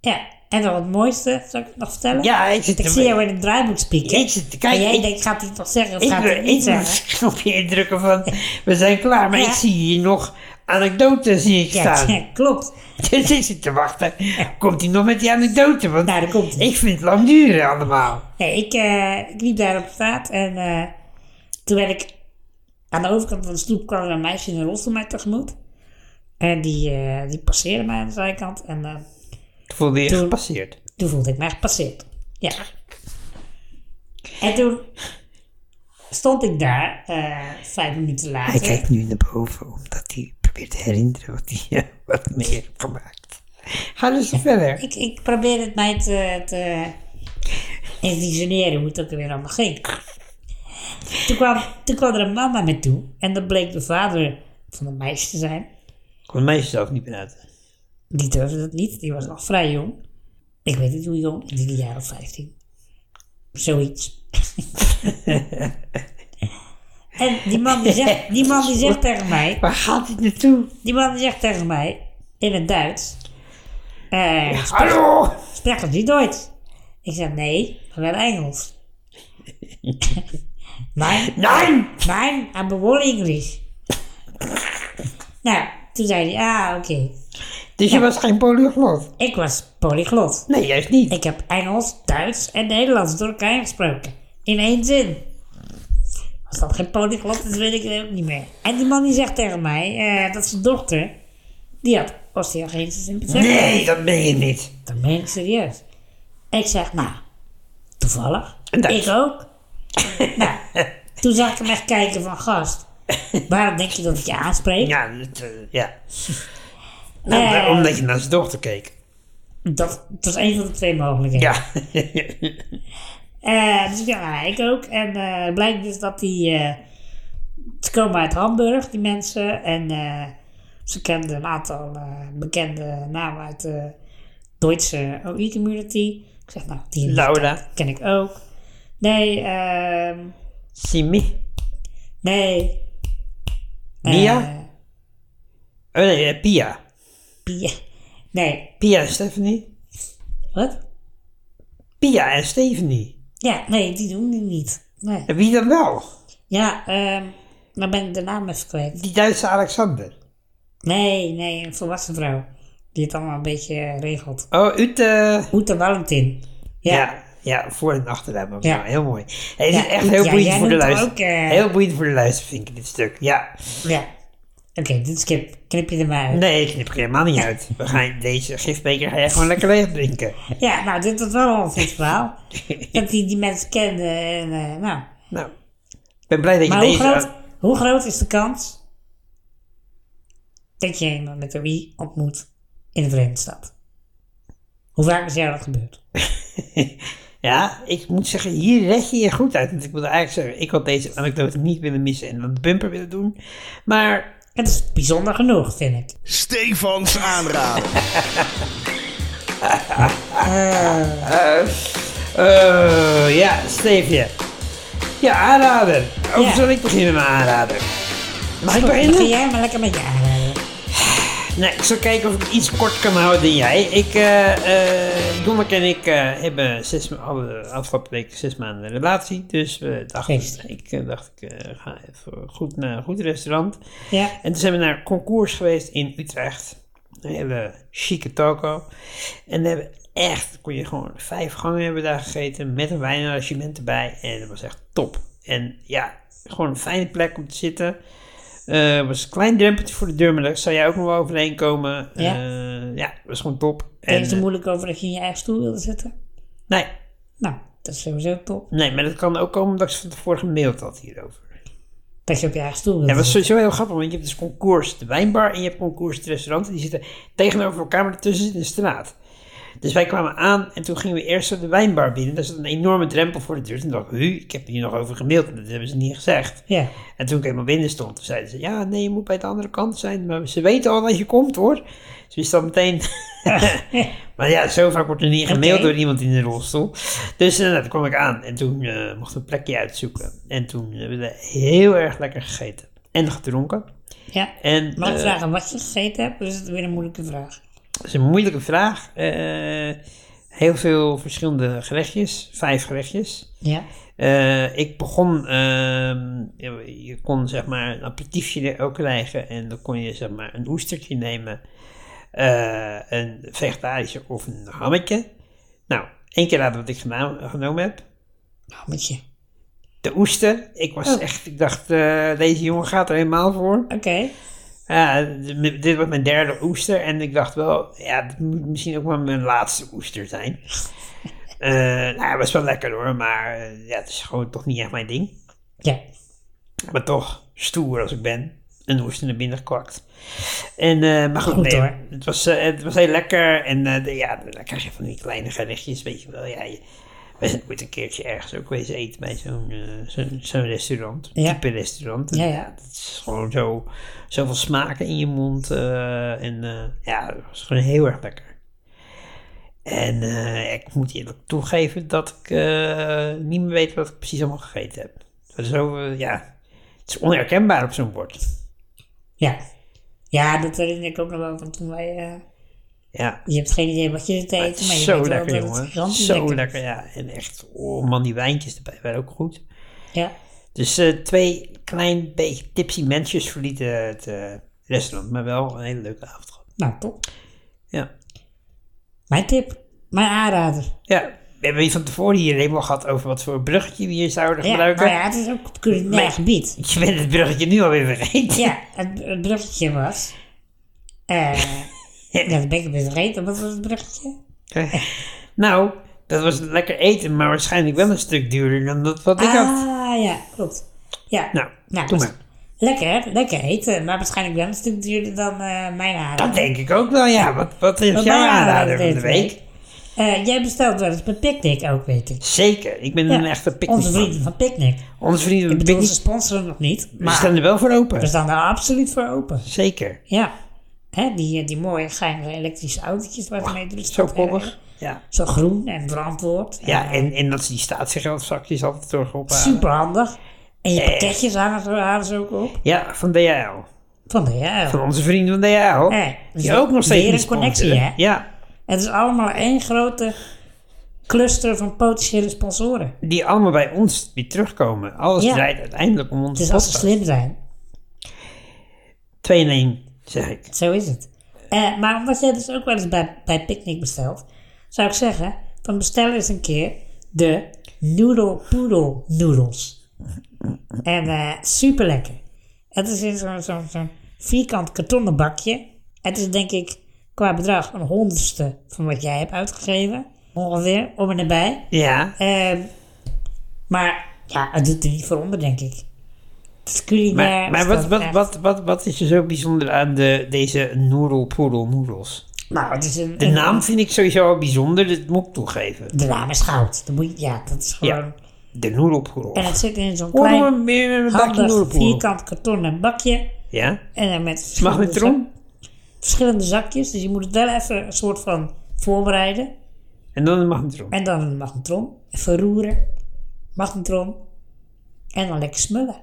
Speaker 2: Ja, en dan het mooiste, zal ik het nog vertellen?
Speaker 1: ja ik zit
Speaker 2: Ik
Speaker 1: te-
Speaker 2: zie jou in het draaiboek spreken.
Speaker 1: Ik zit te kijken,
Speaker 2: En jij
Speaker 1: ik-
Speaker 2: denkt, gaat hij het nog zeggen of
Speaker 1: Ik
Speaker 2: gaat hij
Speaker 1: wil
Speaker 2: het niet
Speaker 1: ik wil
Speaker 2: zeggen?
Speaker 1: een knopje indrukken van we zijn klaar, maar
Speaker 2: Ja.
Speaker 1: ik zie hier nog anekdoten zie ik
Speaker 2: Ja,
Speaker 1: staan.
Speaker 2: ja, klopt.
Speaker 1: Dus ik zit te wachten. Komt hij nog met die anekdote? Want
Speaker 2: Nou, daar komt hij.
Speaker 1: ik vind het lang duren allemaal.
Speaker 2: Nee, ik, eh, ik liep daar op straat en eh, toen werd ik aan de overkant van de stoep kwam er een meisje in een rolstoel mij tegemoet. En die, eh, die passeerde mij aan de zijkant en eh,
Speaker 1: Toen voelde je
Speaker 2: Toen-
Speaker 1: gepasseerd.
Speaker 2: toen voelde ik mij gepasseerd. Ja. En toen stond ik daar, eh, vijf minuten
Speaker 1: Hij
Speaker 2: later.
Speaker 1: kijkt nu naar boven omdat hij probeert te herinneren wat hij eh, wat mee heeft gemaakt. Ga dus verder.
Speaker 2: Ik, ik probeer het mij te, te envisioneren hoe het ook weer allemaal ging. Toen kwam, toen kwam er een man naar me toe en dat bleek de vader van een meisje te zijn.
Speaker 1: Kon mij zelf niet meer uit.
Speaker 2: Die durfde dat niet, die was nog vrij jong. Ik weet niet hoe jong, ik denk een jaar of 15. Zoiets. en die man die zegt, die man die zegt tegen mij,
Speaker 1: Waar gaat dit naartoe?
Speaker 2: die man die zegt tegen mij in het Duits. eh,
Speaker 1: Hallo!
Speaker 2: Spreken die Duits? Ik zei nee, maar wel Engels. nein,
Speaker 1: Nein!
Speaker 2: nein, aber wohl Englisch. nou, toen zei hij, ah oké,
Speaker 1: Dus je was geen polyglot?
Speaker 2: ik was polyglot.
Speaker 1: Nee, juist niet.
Speaker 2: Ik heb Engels, Duits en Nederlands door elkaar gesproken. In één zin. Als dat geen polyglot is, weet ik het ook niet meer. En die man die zegt tegen mij, eh, dat zijn dochter, die had osteogenesis in
Speaker 1: Nee, dat ben je niet.
Speaker 2: Dan ben ik serieus. Ik zeg, nou, toevallig.
Speaker 1: Dat-
Speaker 2: Ik ook. nou, toen zag ik hem echt kijken van, gast, waarom denk je dat ik je aanspreek?
Speaker 1: Ja, het, eh, ja.
Speaker 2: Eh,
Speaker 1: Om- Omdat je naar zijn dochter keek.
Speaker 2: dat, dat is een van de twee mogelijkheden.
Speaker 1: Ja.
Speaker 2: Eh, dus ja, nou, ik ook. En eh, het blijkt dus dat die... eh, ze komen uit Hamburg, die mensen. En eh, ze kenden een aantal eh, bekende namen uit de Duitse oh, OI-community. Ik zeg, nou, die
Speaker 1: Laura.
Speaker 2: ken ik ook. Nee, ehm...
Speaker 1: Simi.
Speaker 2: Nee. Eh.
Speaker 1: Mia? Oh nee, eh, Pia.
Speaker 2: Pia. Nee.
Speaker 1: Pia en Stephanie.
Speaker 2: Wat?
Speaker 1: Pia en Stephanie.
Speaker 2: Ja, nee, die doen die niet. Nee.
Speaker 1: En wie dan wel?
Speaker 2: Ja, ehm dan ben ik de naam even kwijt.
Speaker 1: Die Duitse Alexander.
Speaker 2: Nee, nee, een volwassen vrouw. Die het allemaal een beetje eh, regelt.
Speaker 1: Oh, Ute.
Speaker 2: Oete Valentin. Ja. ja.
Speaker 1: Ja. Ja, voor en achternaam ook.
Speaker 2: Ja.
Speaker 1: Ja. Heel mooi. Hey, het
Speaker 2: Ja,
Speaker 1: is echt
Speaker 2: Ut-
Speaker 1: heel
Speaker 2: ja,
Speaker 1: boeiend
Speaker 2: jij
Speaker 1: voor de
Speaker 2: noemt hem
Speaker 1: luister.
Speaker 2: ook, eh,
Speaker 1: Heel boeiend voor de luister, vind ik, dit stuk. Ja.
Speaker 2: Oké, dit skip. Knip je er maar uit.
Speaker 1: Nee, ik knip er helemaal niet uit. We gaan deze gifbeker ga jij gewoon lekker leeg drinken.
Speaker 2: Ja, nou, dit was wel een goed verhaal. dat die, die mensen kenden. En, eh, nou.
Speaker 1: Nou, ik ben blij dat je
Speaker 2: Maar hoe
Speaker 1: deze...
Speaker 2: groot, hoe groot is de kans dat je iemand met een wie ontmoet in de Verenigde Staten? Hoe vaak is jou dat gebeurd?
Speaker 1: Ja, ik moet zeggen, hier red je je goed uit. Want ik wil eigenlijk zeggen, ik had deze anekdote niet willen missen en dan de bumper willen doen. Maar
Speaker 2: Het is bijzonder genoeg, vind ik.
Speaker 4: Stefans aanraden.
Speaker 1: Eh, ja, Steefje. Ja, aanraden. Of
Speaker 2: Ja.
Speaker 1: zal ik beginnen met aanraden? Mag ik
Speaker 2: Dan ga
Speaker 1: beginnen?
Speaker 2: jij maar lekker met je aanraden.
Speaker 1: Nee, ik zal kijken of ik het iets kort kan houden dan jij. Ik, eh, eh, Jonneke en ik eh, hebben zes, ma- hadden afgelopen week zes maanden een relatie. Dus we dachten,
Speaker 2: Feest.
Speaker 1: ik eh, dacht, ik eh, ga even goed naar een goed restaurant.
Speaker 2: Ja.
Speaker 1: En toen zijn we naar een concours geweest in Utrecht. Een hele chique toko. En we hebben echt, kon je gewoon vijf gangen hebben daar gegeten met een wijnarrangement erbij. En dat was echt top. En ja, gewoon een fijne plek om te zitten. Eh, was een klein drempeltje voor de deur, maar daar zou jij ook nog wel overheen komen.
Speaker 2: Ja.
Speaker 1: Eh, ja, was gewoon top.
Speaker 2: En is
Speaker 1: eh,
Speaker 2: er moeilijk over dat je in je eigen stoel wilde zitten?
Speaker 1: nee,
Speaker 2: Nou, dat is sowieso top.
Speaker 1: nee, maar dat kan ook komen omdat ik ze van tevoren gemaild had hierover.
Speaker 2: Dat je op je eigen stoel wilde
Speaker 1: Ja, dat is
Speaker 2: zitten.
Speaker 1: sowieso heel grappig, want je hebt dus concours de wijnbar en je hebt concours het restaurant. En die zitten tegenover elkaar, maar ertussen zit een straat. Dus wij kwamen aan en toen gingen we eerst de wijnbar binnen. Daar zat een enorme drempel voor de deur. Toen dacht ik, "Hu, ik heb hier nog over gemaild en dat hebben ze niet gezegd.
Speaker 2: Ja,
Speaker 1: En toen ik helemaal binnen stond, toen zeiden ze, ja, nee, je moet bij de andere kant zijn. Maar ze weten al dat je komt, hoor. Dus Ze wisten al meteen. maar ja, zo vaak wordt er niet gemaild
Speaker 2: Oké.
Speaker 1: door iemand in de rolstoel. Dus eh, nou, toen kwam ik aan en toen eh, mocht ik een plekje uitzoeken. En toen hebben we heel erg lekker gegeten. En gedronken.
Speaker 2: ja.
Speaker 1: En,
Speaker 2: Mag ik
Speaker 1: eh,
Speaker 2: vragen wat je gegeten hebt? Of is het weer een moeilijke vraag?
Speaker 1: Dat is een moeilijke vraag. Eh, heel veel verschillende gerechtjes. Vijf gerechtjes.
Speaker 2: Ja.
Speaker 1: Eh, ik begon, ehm, je- je kon zeg maar een aperitiefje ook krijgen en dan kon je zeg maar een oestertje nemen, eh, een vegetarische of een hammetje. Nou, één keer later wat ik gena- genomen heb,
Speaker 2: Nou, met je.
Speaker 1: de oester. Ik was echt, ik dacht, eh, deze jongen gaat er helemaal voor.
Speaker 2: Oké.
Speaker 1: Ja, d- dit was mijn derde oester en ik dacht wel, ja, dit moet misschien ook wel mijn laatste oester zijn. Eh nou, het was wel lekker hoor, maar eh, ja, het is gewoon toch niet echt mijn ding.
Speaker 2: Ja.
Speaker 1: Maar toch, stoer als ik ben, een oester naar binnen gekwakt. En, eh, maar goed,
Speaker 2: Goed,
Speaker 1: nee,
Speaker 2: hoor.
Speaker 1: Het, was, eh, het was heel lekker. En eh, de- ja, dan krijg je van die kleine gerechtjes, weet je wel. Ja, je, we zijn ooit een keertje ergens ook geweest eten bij zo'n eh, zo'n- zo'n restaurant. Een
Speaker 2: Ja.
Speaker 1: type restaurant.
Speaker 2: Ja, ja.
Speaker 1: Het is gewoon zo, zoveel smaken in je mond. eh, en eh, ja, het was gewoon heel erg lekker. En eh, ik moet eerlijk toegeven dat ik eh, niet meer weet wat ik precies allemaal gegeten heb. Het was Zo, eh, ja, het is onherkenbaar op zo'n bord.
Speaker 2: Ja. Ja, dat herinner ik ook nog wel van toen wij... eh,
Speaker 1: Ja,
Speaker 2: je hebt geen idee wat je te
Speaker 1: het
Speaker 2: eten, maar je
Speaker 1: is Ah, zo
Speaker 2: weet wel
Speaker 1: lekker
Speaker 2: dat het
Speaker 1: jongen.
Speaker 2: gigantisch
Speaker 1: Zo
Speaker 2: lekker
Speaker 1: lekker,
Speaker 2: is.
Speaker 1: ja. En echt, oh man, die wijntjes erbij waren ook goed.
Speaker 2: Ja.
Speaker 1: Dus eh, twee klein beetje tipsy mensjes verlieten het eh, restaurant, maar wel een hele leuke avond gehad.
Speaker 2: Nou, top.
Speaker 1: Ja.
Speaker 2: Mijn tip. Mijn aanrader.
Speaker 1: ja, we hebben hier van tevoren hier helemaal gehad over wat voor bruggetje we hier zouden
Speaker 2: Ja,
Speaker 1: gebruiken.
Speaker 2: nou ja, het is ook op culinair
Speaker 1: Nee.
Speaker 2: gebied.
Speaker 1: Je bent het bruggetje nu alweer vergeten.
Speaker 2: Ja, het, het bruggetje was... eh ja, dat ben ik een beetje vergeten. Wat was het bruggetje?
Speaker 1: Nou, dat was lekker eten, maar waarschijnlijk wel een stuk duurder dan dat wat ik had.
Speaker 2: Ah, ja, klopt. Ja.
Speaker 1: Nou, doe
Speaker 2: was-
Speaker 1: maar.
Speaker 2: Lekker, lekker eten. Maar waarschijnlijk wel een stuk duurder dan eh, mijn aanrader.
Speaker 1: Dat denk ik ook wel, ja. Wat, wat is
Speaker 2: Wat
Speaker 1: jouw
Speaker 2: mijn
Speaker 1: aanrader van de
Speaker 2: deed
Speaker 1: week?
Speaker 2: Eh, jij bestelt wel eens bij Picnic ook, weet ik.
Speaker 1: Zeker, ik ben een
Speaker 2: Ja,
Speaker 1: echte picknick.
Speaker 2: Onze vrienden van Picnic.
Speaker 1: Onze vrienden
Speaker 2: Ik
Speaker 1: van
Speaker 2: bedoel,
Speaker 1: picknick.
Speaker 2: ze sponsoren nog niet.
Speaker 1: We
Speaker 2: Maar
Speaker 1: staan er wel voor
Speaker 2: we
Speaker 1: open.
Speaker 2: staan daar absoluut voor open.
Speaker 1: Zeker.
Speaker 2: Ja. Hè, die, die mooie geinige elektrische autootjes waar ze mee door de
Speaker 1: Zo
Speaker 2: stad
Speaker 1: koppig.
Speaker 2: rijden.
Speaker 1: Ja.
Speaker 2: Zo groen en verantwoord. Eh,
Speaker 1: Ja, en, en dat ze die statiegeldzakjes altijd terug eh, ophalen.
Speaker 2: Super handig. En
Speaker 1: Eh.
Speaker 2: je pakketjes hangen, ze- hangen ze ook op.
Speaker 1: Ja, van DHL.
Speaker 2: Van de ja.
Speaker 1: Van onze vrienden van DHL.
Speaker 2: Ja, dus
Speaker 1: Die ook nog steeds
Speaker 2: weer
Speaker 1: niet
Speaker 2: een connectie,
Speaker 1: sponsoren.
Speaker 2: hè?
Speaker 1: Ja,
Speaker 2: Het is allemaal één grote cluster van potentiële sponsoren.
Speaker 1: die allemaal bij ons weer terugkomen. Alles
Speaker 2: Ja.
Speaker 1: draait uiteindelijk om
Speaker 2: Het
Speaker 1: onze
Speaker 2: is Dus als ze
Speaker 1: podcast.
Speaker 2: slim zijn.
Speaker 1: 2 in 1, zeg ik.
Speaker 2: Zo is het. Eh, maar omdat jij dus ook wel eens bij, bij Picnic bestelt, zou ik zeggen, van bestel eens een keer de Noodle Poodle Noodles. En super lekker. Het is in zo'n zo'n- zo'n vierkant kartonnen bakje. Het is denk ik qua bedrag een honderdste van wat jij hebt uitgegeven. Ongeveer, om en nabij.
Speaker 1: Ja,
Speaker 2: Ehm, maar ja, het doet er niet voor onder, denk ik. Het is culinair.
Speaker 1: maar, maar
Speaker 2: het
Speaker 1: wat,
Speaker 2: is
Speaker 1: wat,
Speaker 2: echt-
Speaker 1: wat, wat, wat is er zo bijzonder aan de, deze noedelpoedel noedels?
Speaker 2: Nou, het is een,
Speaker 1: De
Speaker 2: een-
Speaker 1: naam vind ik sowieso al bijzonder, dat moet ik toegeven.
Speaker 2: De naam is goud. Dan moet je, ja, dat is gewoon...
Speaker 1: Ja, de noedelpoedel.
Speaker 2: En het zit in zo'n
Speaker 1: Hoor
Speaker 2: klein,
Speaker 1: maar meer met een bakje
Speaker 2: handig,
Speaker 1: noedelpoedel.
Speaker 2: vierkant kartonnen bakje.
Speaker 1: Ja,
Speaker 2: En dan met verschillende,
Speaker 1: magnetron.
Speaker 2: zak- verschillende zakjes. Dus je moet het wel even een soort van voorbereiden.
Speaker 1: En dan een magnetron.
Speaker 2: En dan een magnetron. Even roeren. Magnetron. En dan lekker smullen.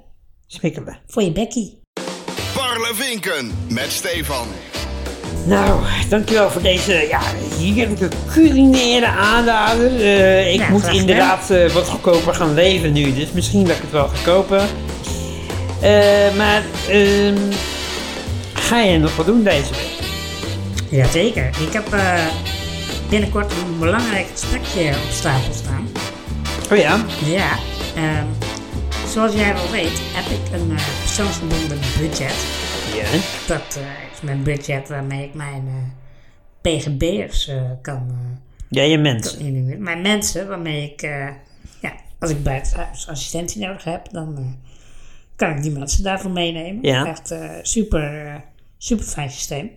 Speaker 1: Smikkelen.
Speaker 2: Voor je bekkie.
Speaker 4: Parlevinken met Stefan.
Speaker 1: Nou, dankjewel voor deze ja, heerlijke culinaire aanrader. Eh, ik
Speaker 2: Nou,
Speaker 1: moet
Speaker 2: graag gedaan.
Speaker 1: inderdaad eh, wat goedkoper gaan leven nu, dus misschien dat ik het wel ga kopen. Eh, maar ehm, ga je nog wat doen deze week?
Speaker 2: Jazeker. Ik heb eh, binnenkort een belangrijk gesprekje op stapel staan.
Speaker 1: Oh ja,
Speaker 2: Ja, ehm, Zoals jij wel weet, heb ik een eh, persoonsgebonden budget.
Speaker 1: Ja.
Speaker 2: Dat eh, is mijn budget waarmee ik mijn eh, PGB'ers eh, kan eh,
Speaker 1: Ja, je mensen.
Speaker 2: inhuren. Mijn mensen waarmee ik, eh, ja, als ik buitenhuis assistentie nodig heb, dan eh, kan ik die mensen daarvoor meenemen.
Speaker 1: Ja.
Speaker 2: Echt eh, super, eh, super fijn systeem.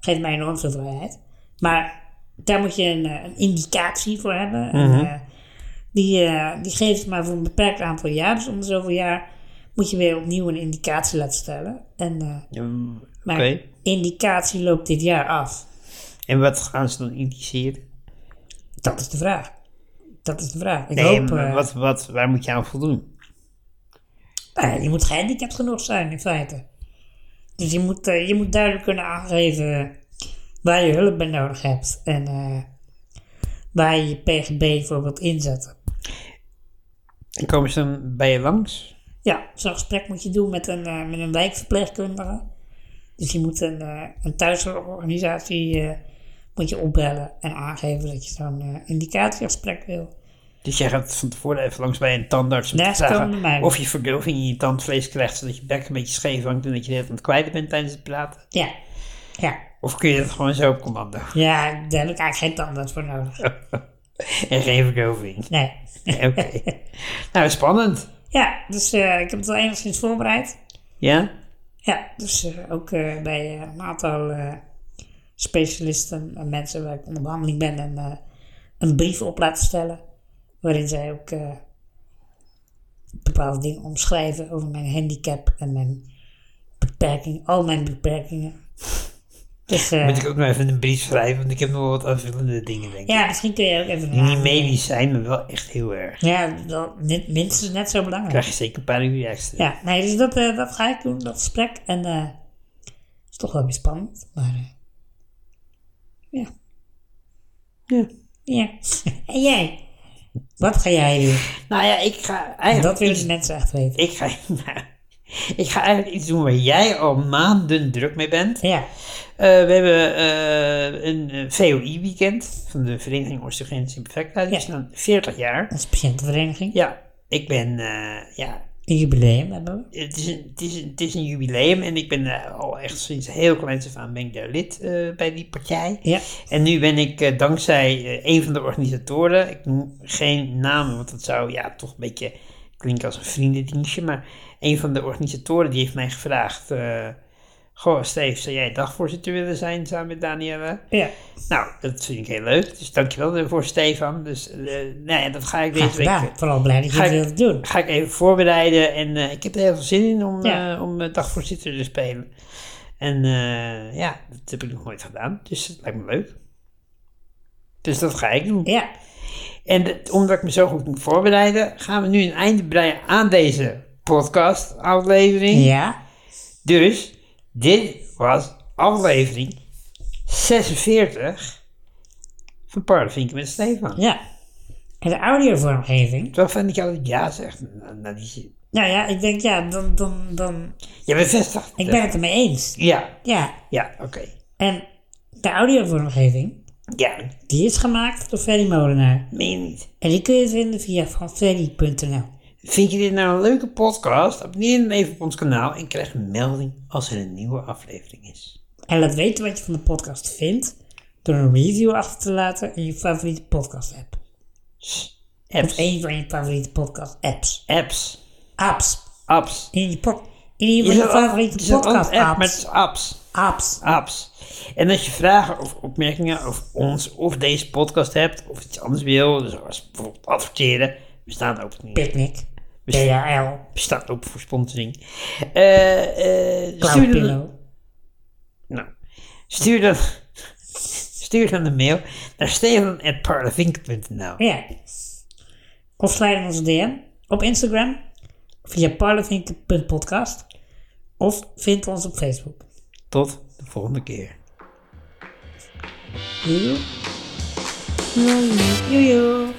Speaker 2: Geeft mij enorm veel vrijheid. Maar daar moet je een, eh, een indicatie voor hebben. En, eh, die, eh, die geeft maar voor een beperkt aantal jaar. Dus om de zoveel jaar moet je weer opnieuw een indicatie laten stellen. En, eh, maar
Speaker 1: oké.
Speaker 2: indicatie loopt dit jaar af.
Speaker 1: En wat gaan ze dan indiceren?
Speaker 2: Dat is de vraag. Dat is de vraag. Ik
Speaker 1: Nee,
Speaker 2: hoop,
Speaker 1: maar
Speaker 2: eh,
Speaker 1: wat, wat, waar moet je aan voldoen?
Speaker 2: nou ja, je moet gehandicapt genoeg zijn in feite. Dus je moet, eh, je moet duidelijk kunnen aangeven eh, waar je hulp bij nodig hebt. En eh, waar je je PGB bijvoorbeeld inzet.
Speaker 1: En komen ze dan bij je langs?
Speaker 2: Ja, zo'n gesprek moet je doen met een, eh, met een wijkverpleegkundige. Dus je moet een, eh, een thuisorganisatie eh, moet je opbellen en aangeven dat je zo'n eh, indicatiegesprek wil.
Speaker 1: Dus jij gaat van tevoren even langs bij een tandarts om
Speaker 2: Nee,
Speaker 1: te
Speaker 2: ze komen bij mij.
Speaker 1: vragen of je vergulving in je tandvlees krijgt, zodat je bek een beetje scheef hangt en dat je de hele tijd aan het kwijt bent tijdens het praten.
Speaker 2: Ja, ja.
Speaker 1: Of kun je dat gewoon zo op commando?
Speaker 2: ja daar heb ik eigenlijk geen tandarts voor nodig.
Speaker 1: En geen vergulving.
Speaker 2: Nee.
Speaker 1: Oké. nou, spannend.
Speaker 2: Ja, dus eh, ik heb het al enigszins voorbereid.
Speaker 1: Ja?
Speaker 2: Ja, dus eh, ook eh, bij eh, een aantal eh, specialisten en mensen waar ik onder behandeling ben een, eh, een brief op laten stellen. Waarin zij ook eh, bepaalde dingen omschrijven over mijn handicap en mijn beperking, al mijn beperkingen. Dus eh,
Speaker 1: Moet ik ook nog even een brief schrijven, want ik heb nog wel wat aanvullende dingen, denk ik.
Speaker 2: ja, misschien kun je ook even...
Speaker 1: Die niet medisch zijn, maar wel echt heel erg.
Speaker 2: Ja, wel, net- minstens net zo belangrijk.
Speaker 1: krijg je zeker een paar uur extra.
Speaker 2: Ja, nee, dus dat, eh, dat ga ik doen, dat gesprek. En eh is toch wel weer spannend, maar eh, ja.
Speaker 1: Ja.
Speaker 2: Ja. en jij? Wat ga jij doen?
Speaker 1: Nou ja, ik ga
Speaker 2: dat
Speaker 1: eigenlijk,
Speaker 2: willen
Speaker 1: iets,
Speaker 2: de mensen echt weten.
Speaker 1: ik ga, nou, ik ga eigenlijk iets doen waar jij al maanden druk mee bent.
Speaker 2: Ja,
Speaker 1: Eh, we hebben eh, een eh, VOI-weekend van de Vereniging Osteogenesis Imperfecta. Die
Speaker 2: Ja.
Speaker 1: is dan 40 jaar.
Speaker 2: onze patiëntenvereniging.
Speaker 1: Ja, ik ben, eh, ja,
Speaker 2: Een jubileum hebben we.
Speaker 1: het is, een, het, is een, het is een jubileum en ik ben eh, al echt sinds heel kleins af aan ben ik daar lid eh, bij die partij.
Speaker 2: Ja.
Speaker 1: En nu ben ik eh, dankzij eh, een van de organisatoren, ik noem geen namen, want dat zou ja, toch een beetje klinken als een vriendendienstje, maar een van de organisatoren die heeft mij gevraagd, eh, goh Steve, zou jij dagvoorzitter willen zijn samen met Danielle?
Speaker 2: Ja.
Speaker 1: Nou, dat vind ik heel leuk, dus dankjewel daarvoor Stefan. Dus eh, nou ja, dat ga ik
Speaker 2: Graag
Speaker 1: deze week...
Speaker 2: gedaan. Vooral blij dat je
Speaker 1: Ga
Speaker 2: het
Speaker 1: ik-
Speaker 2: wilt doen.
Speaker 1: Ga ik even voorbereiden en eh, ik heb er heel veel zin in om,
Speaker 2: Ja.
Speaker 1: eh, om eh, dagvoorzitter te spelen. En eh, ja, dat heb ik nog nooit gedaan, dus het lijkt me leuk. Dus dat ga ik doen.
Speaker 2: Ja,
Speaker 1: En dat- omdat ik me zo goed moet voorbereiden, gaan we nu een einde breien aan deze podcast-aflevering.
Speaker 2: ja.
Speaker 1: Dus dit was aflevering 46 van Parlevinken met Stefan.
Speaker 2: ja. En de audiovormgeving.
Speaker 1: Terwijl vind ik altijd ja zegt na, na die zin.
Speaker 2: Nou ja, ik denk ja, dan, dan, dan...
Speaker 1: Je bevestigt.
Speaker 2: Ik
Speaker 1: het.
Speaker 2: ben het ermee eens.
Speaker 1: Ja,
Speaker 2: Ja.
Speaker 1: ja, oké.
Speaker 2: En de audiovormgeving,
Speaker 1: Ja,
Speaker 2: Die is gemaakt door Ferry Molenaar.
Speaker 1: meen je niet.
Speaker 2: En die kun je vinden via vanferry.nl.
Speaker 1: Vind je dit nou een leuke podcast? Abonneer dan even op ons kanaal en krijg een melding als er een nieuwe aflevering is.
Speaker 2: En laat weten wat je van de podcast vindt door een review achter te laten in je favoriete podcast app. Of
Speaker 1: Apps.
Speaker 2: een van je favoriete podcast apps.
Speaker 1: Apps.
Speaker 2: Apps.
Speaker 1: Apps.
Speaker 2: In je, pod- in je, van je favoriete podcast
Speaker 1: app met
Speaker 2: apps.
Speaker 1: z'n apps.
Speaker 2: Apps.
Speaker 1: Apps. En als je vragen of opmerkingen over ons of deze podcast hebt of iets anders wil, zoals bijvoorbeeld adverteren, we staan open, we
Speaker 2: Picnic. DHL.
Speaker 1: staan open voor sponsoring. Eh, eh,
Speaker 2: Cloud
Speaker 1: stuur dan,
Speaker 2: Pillow.
Speaker 1: Nou, stuur dan, stuur dan een mail naar stefan.parlevink.nl.
Speaker 2: Ja. Of sluit in onze DM op Instagram via parlevinken.podcast of vind ons op Facebook.
Speaker 1: Tot de volgende keer.
Speaker 2: Joejoe. Joejoe.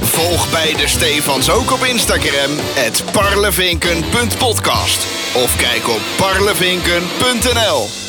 Speaker 4: Volg beide Stefans ook op Instagram, het parlevinken.podcast. Of kijk op parlevinken.nl.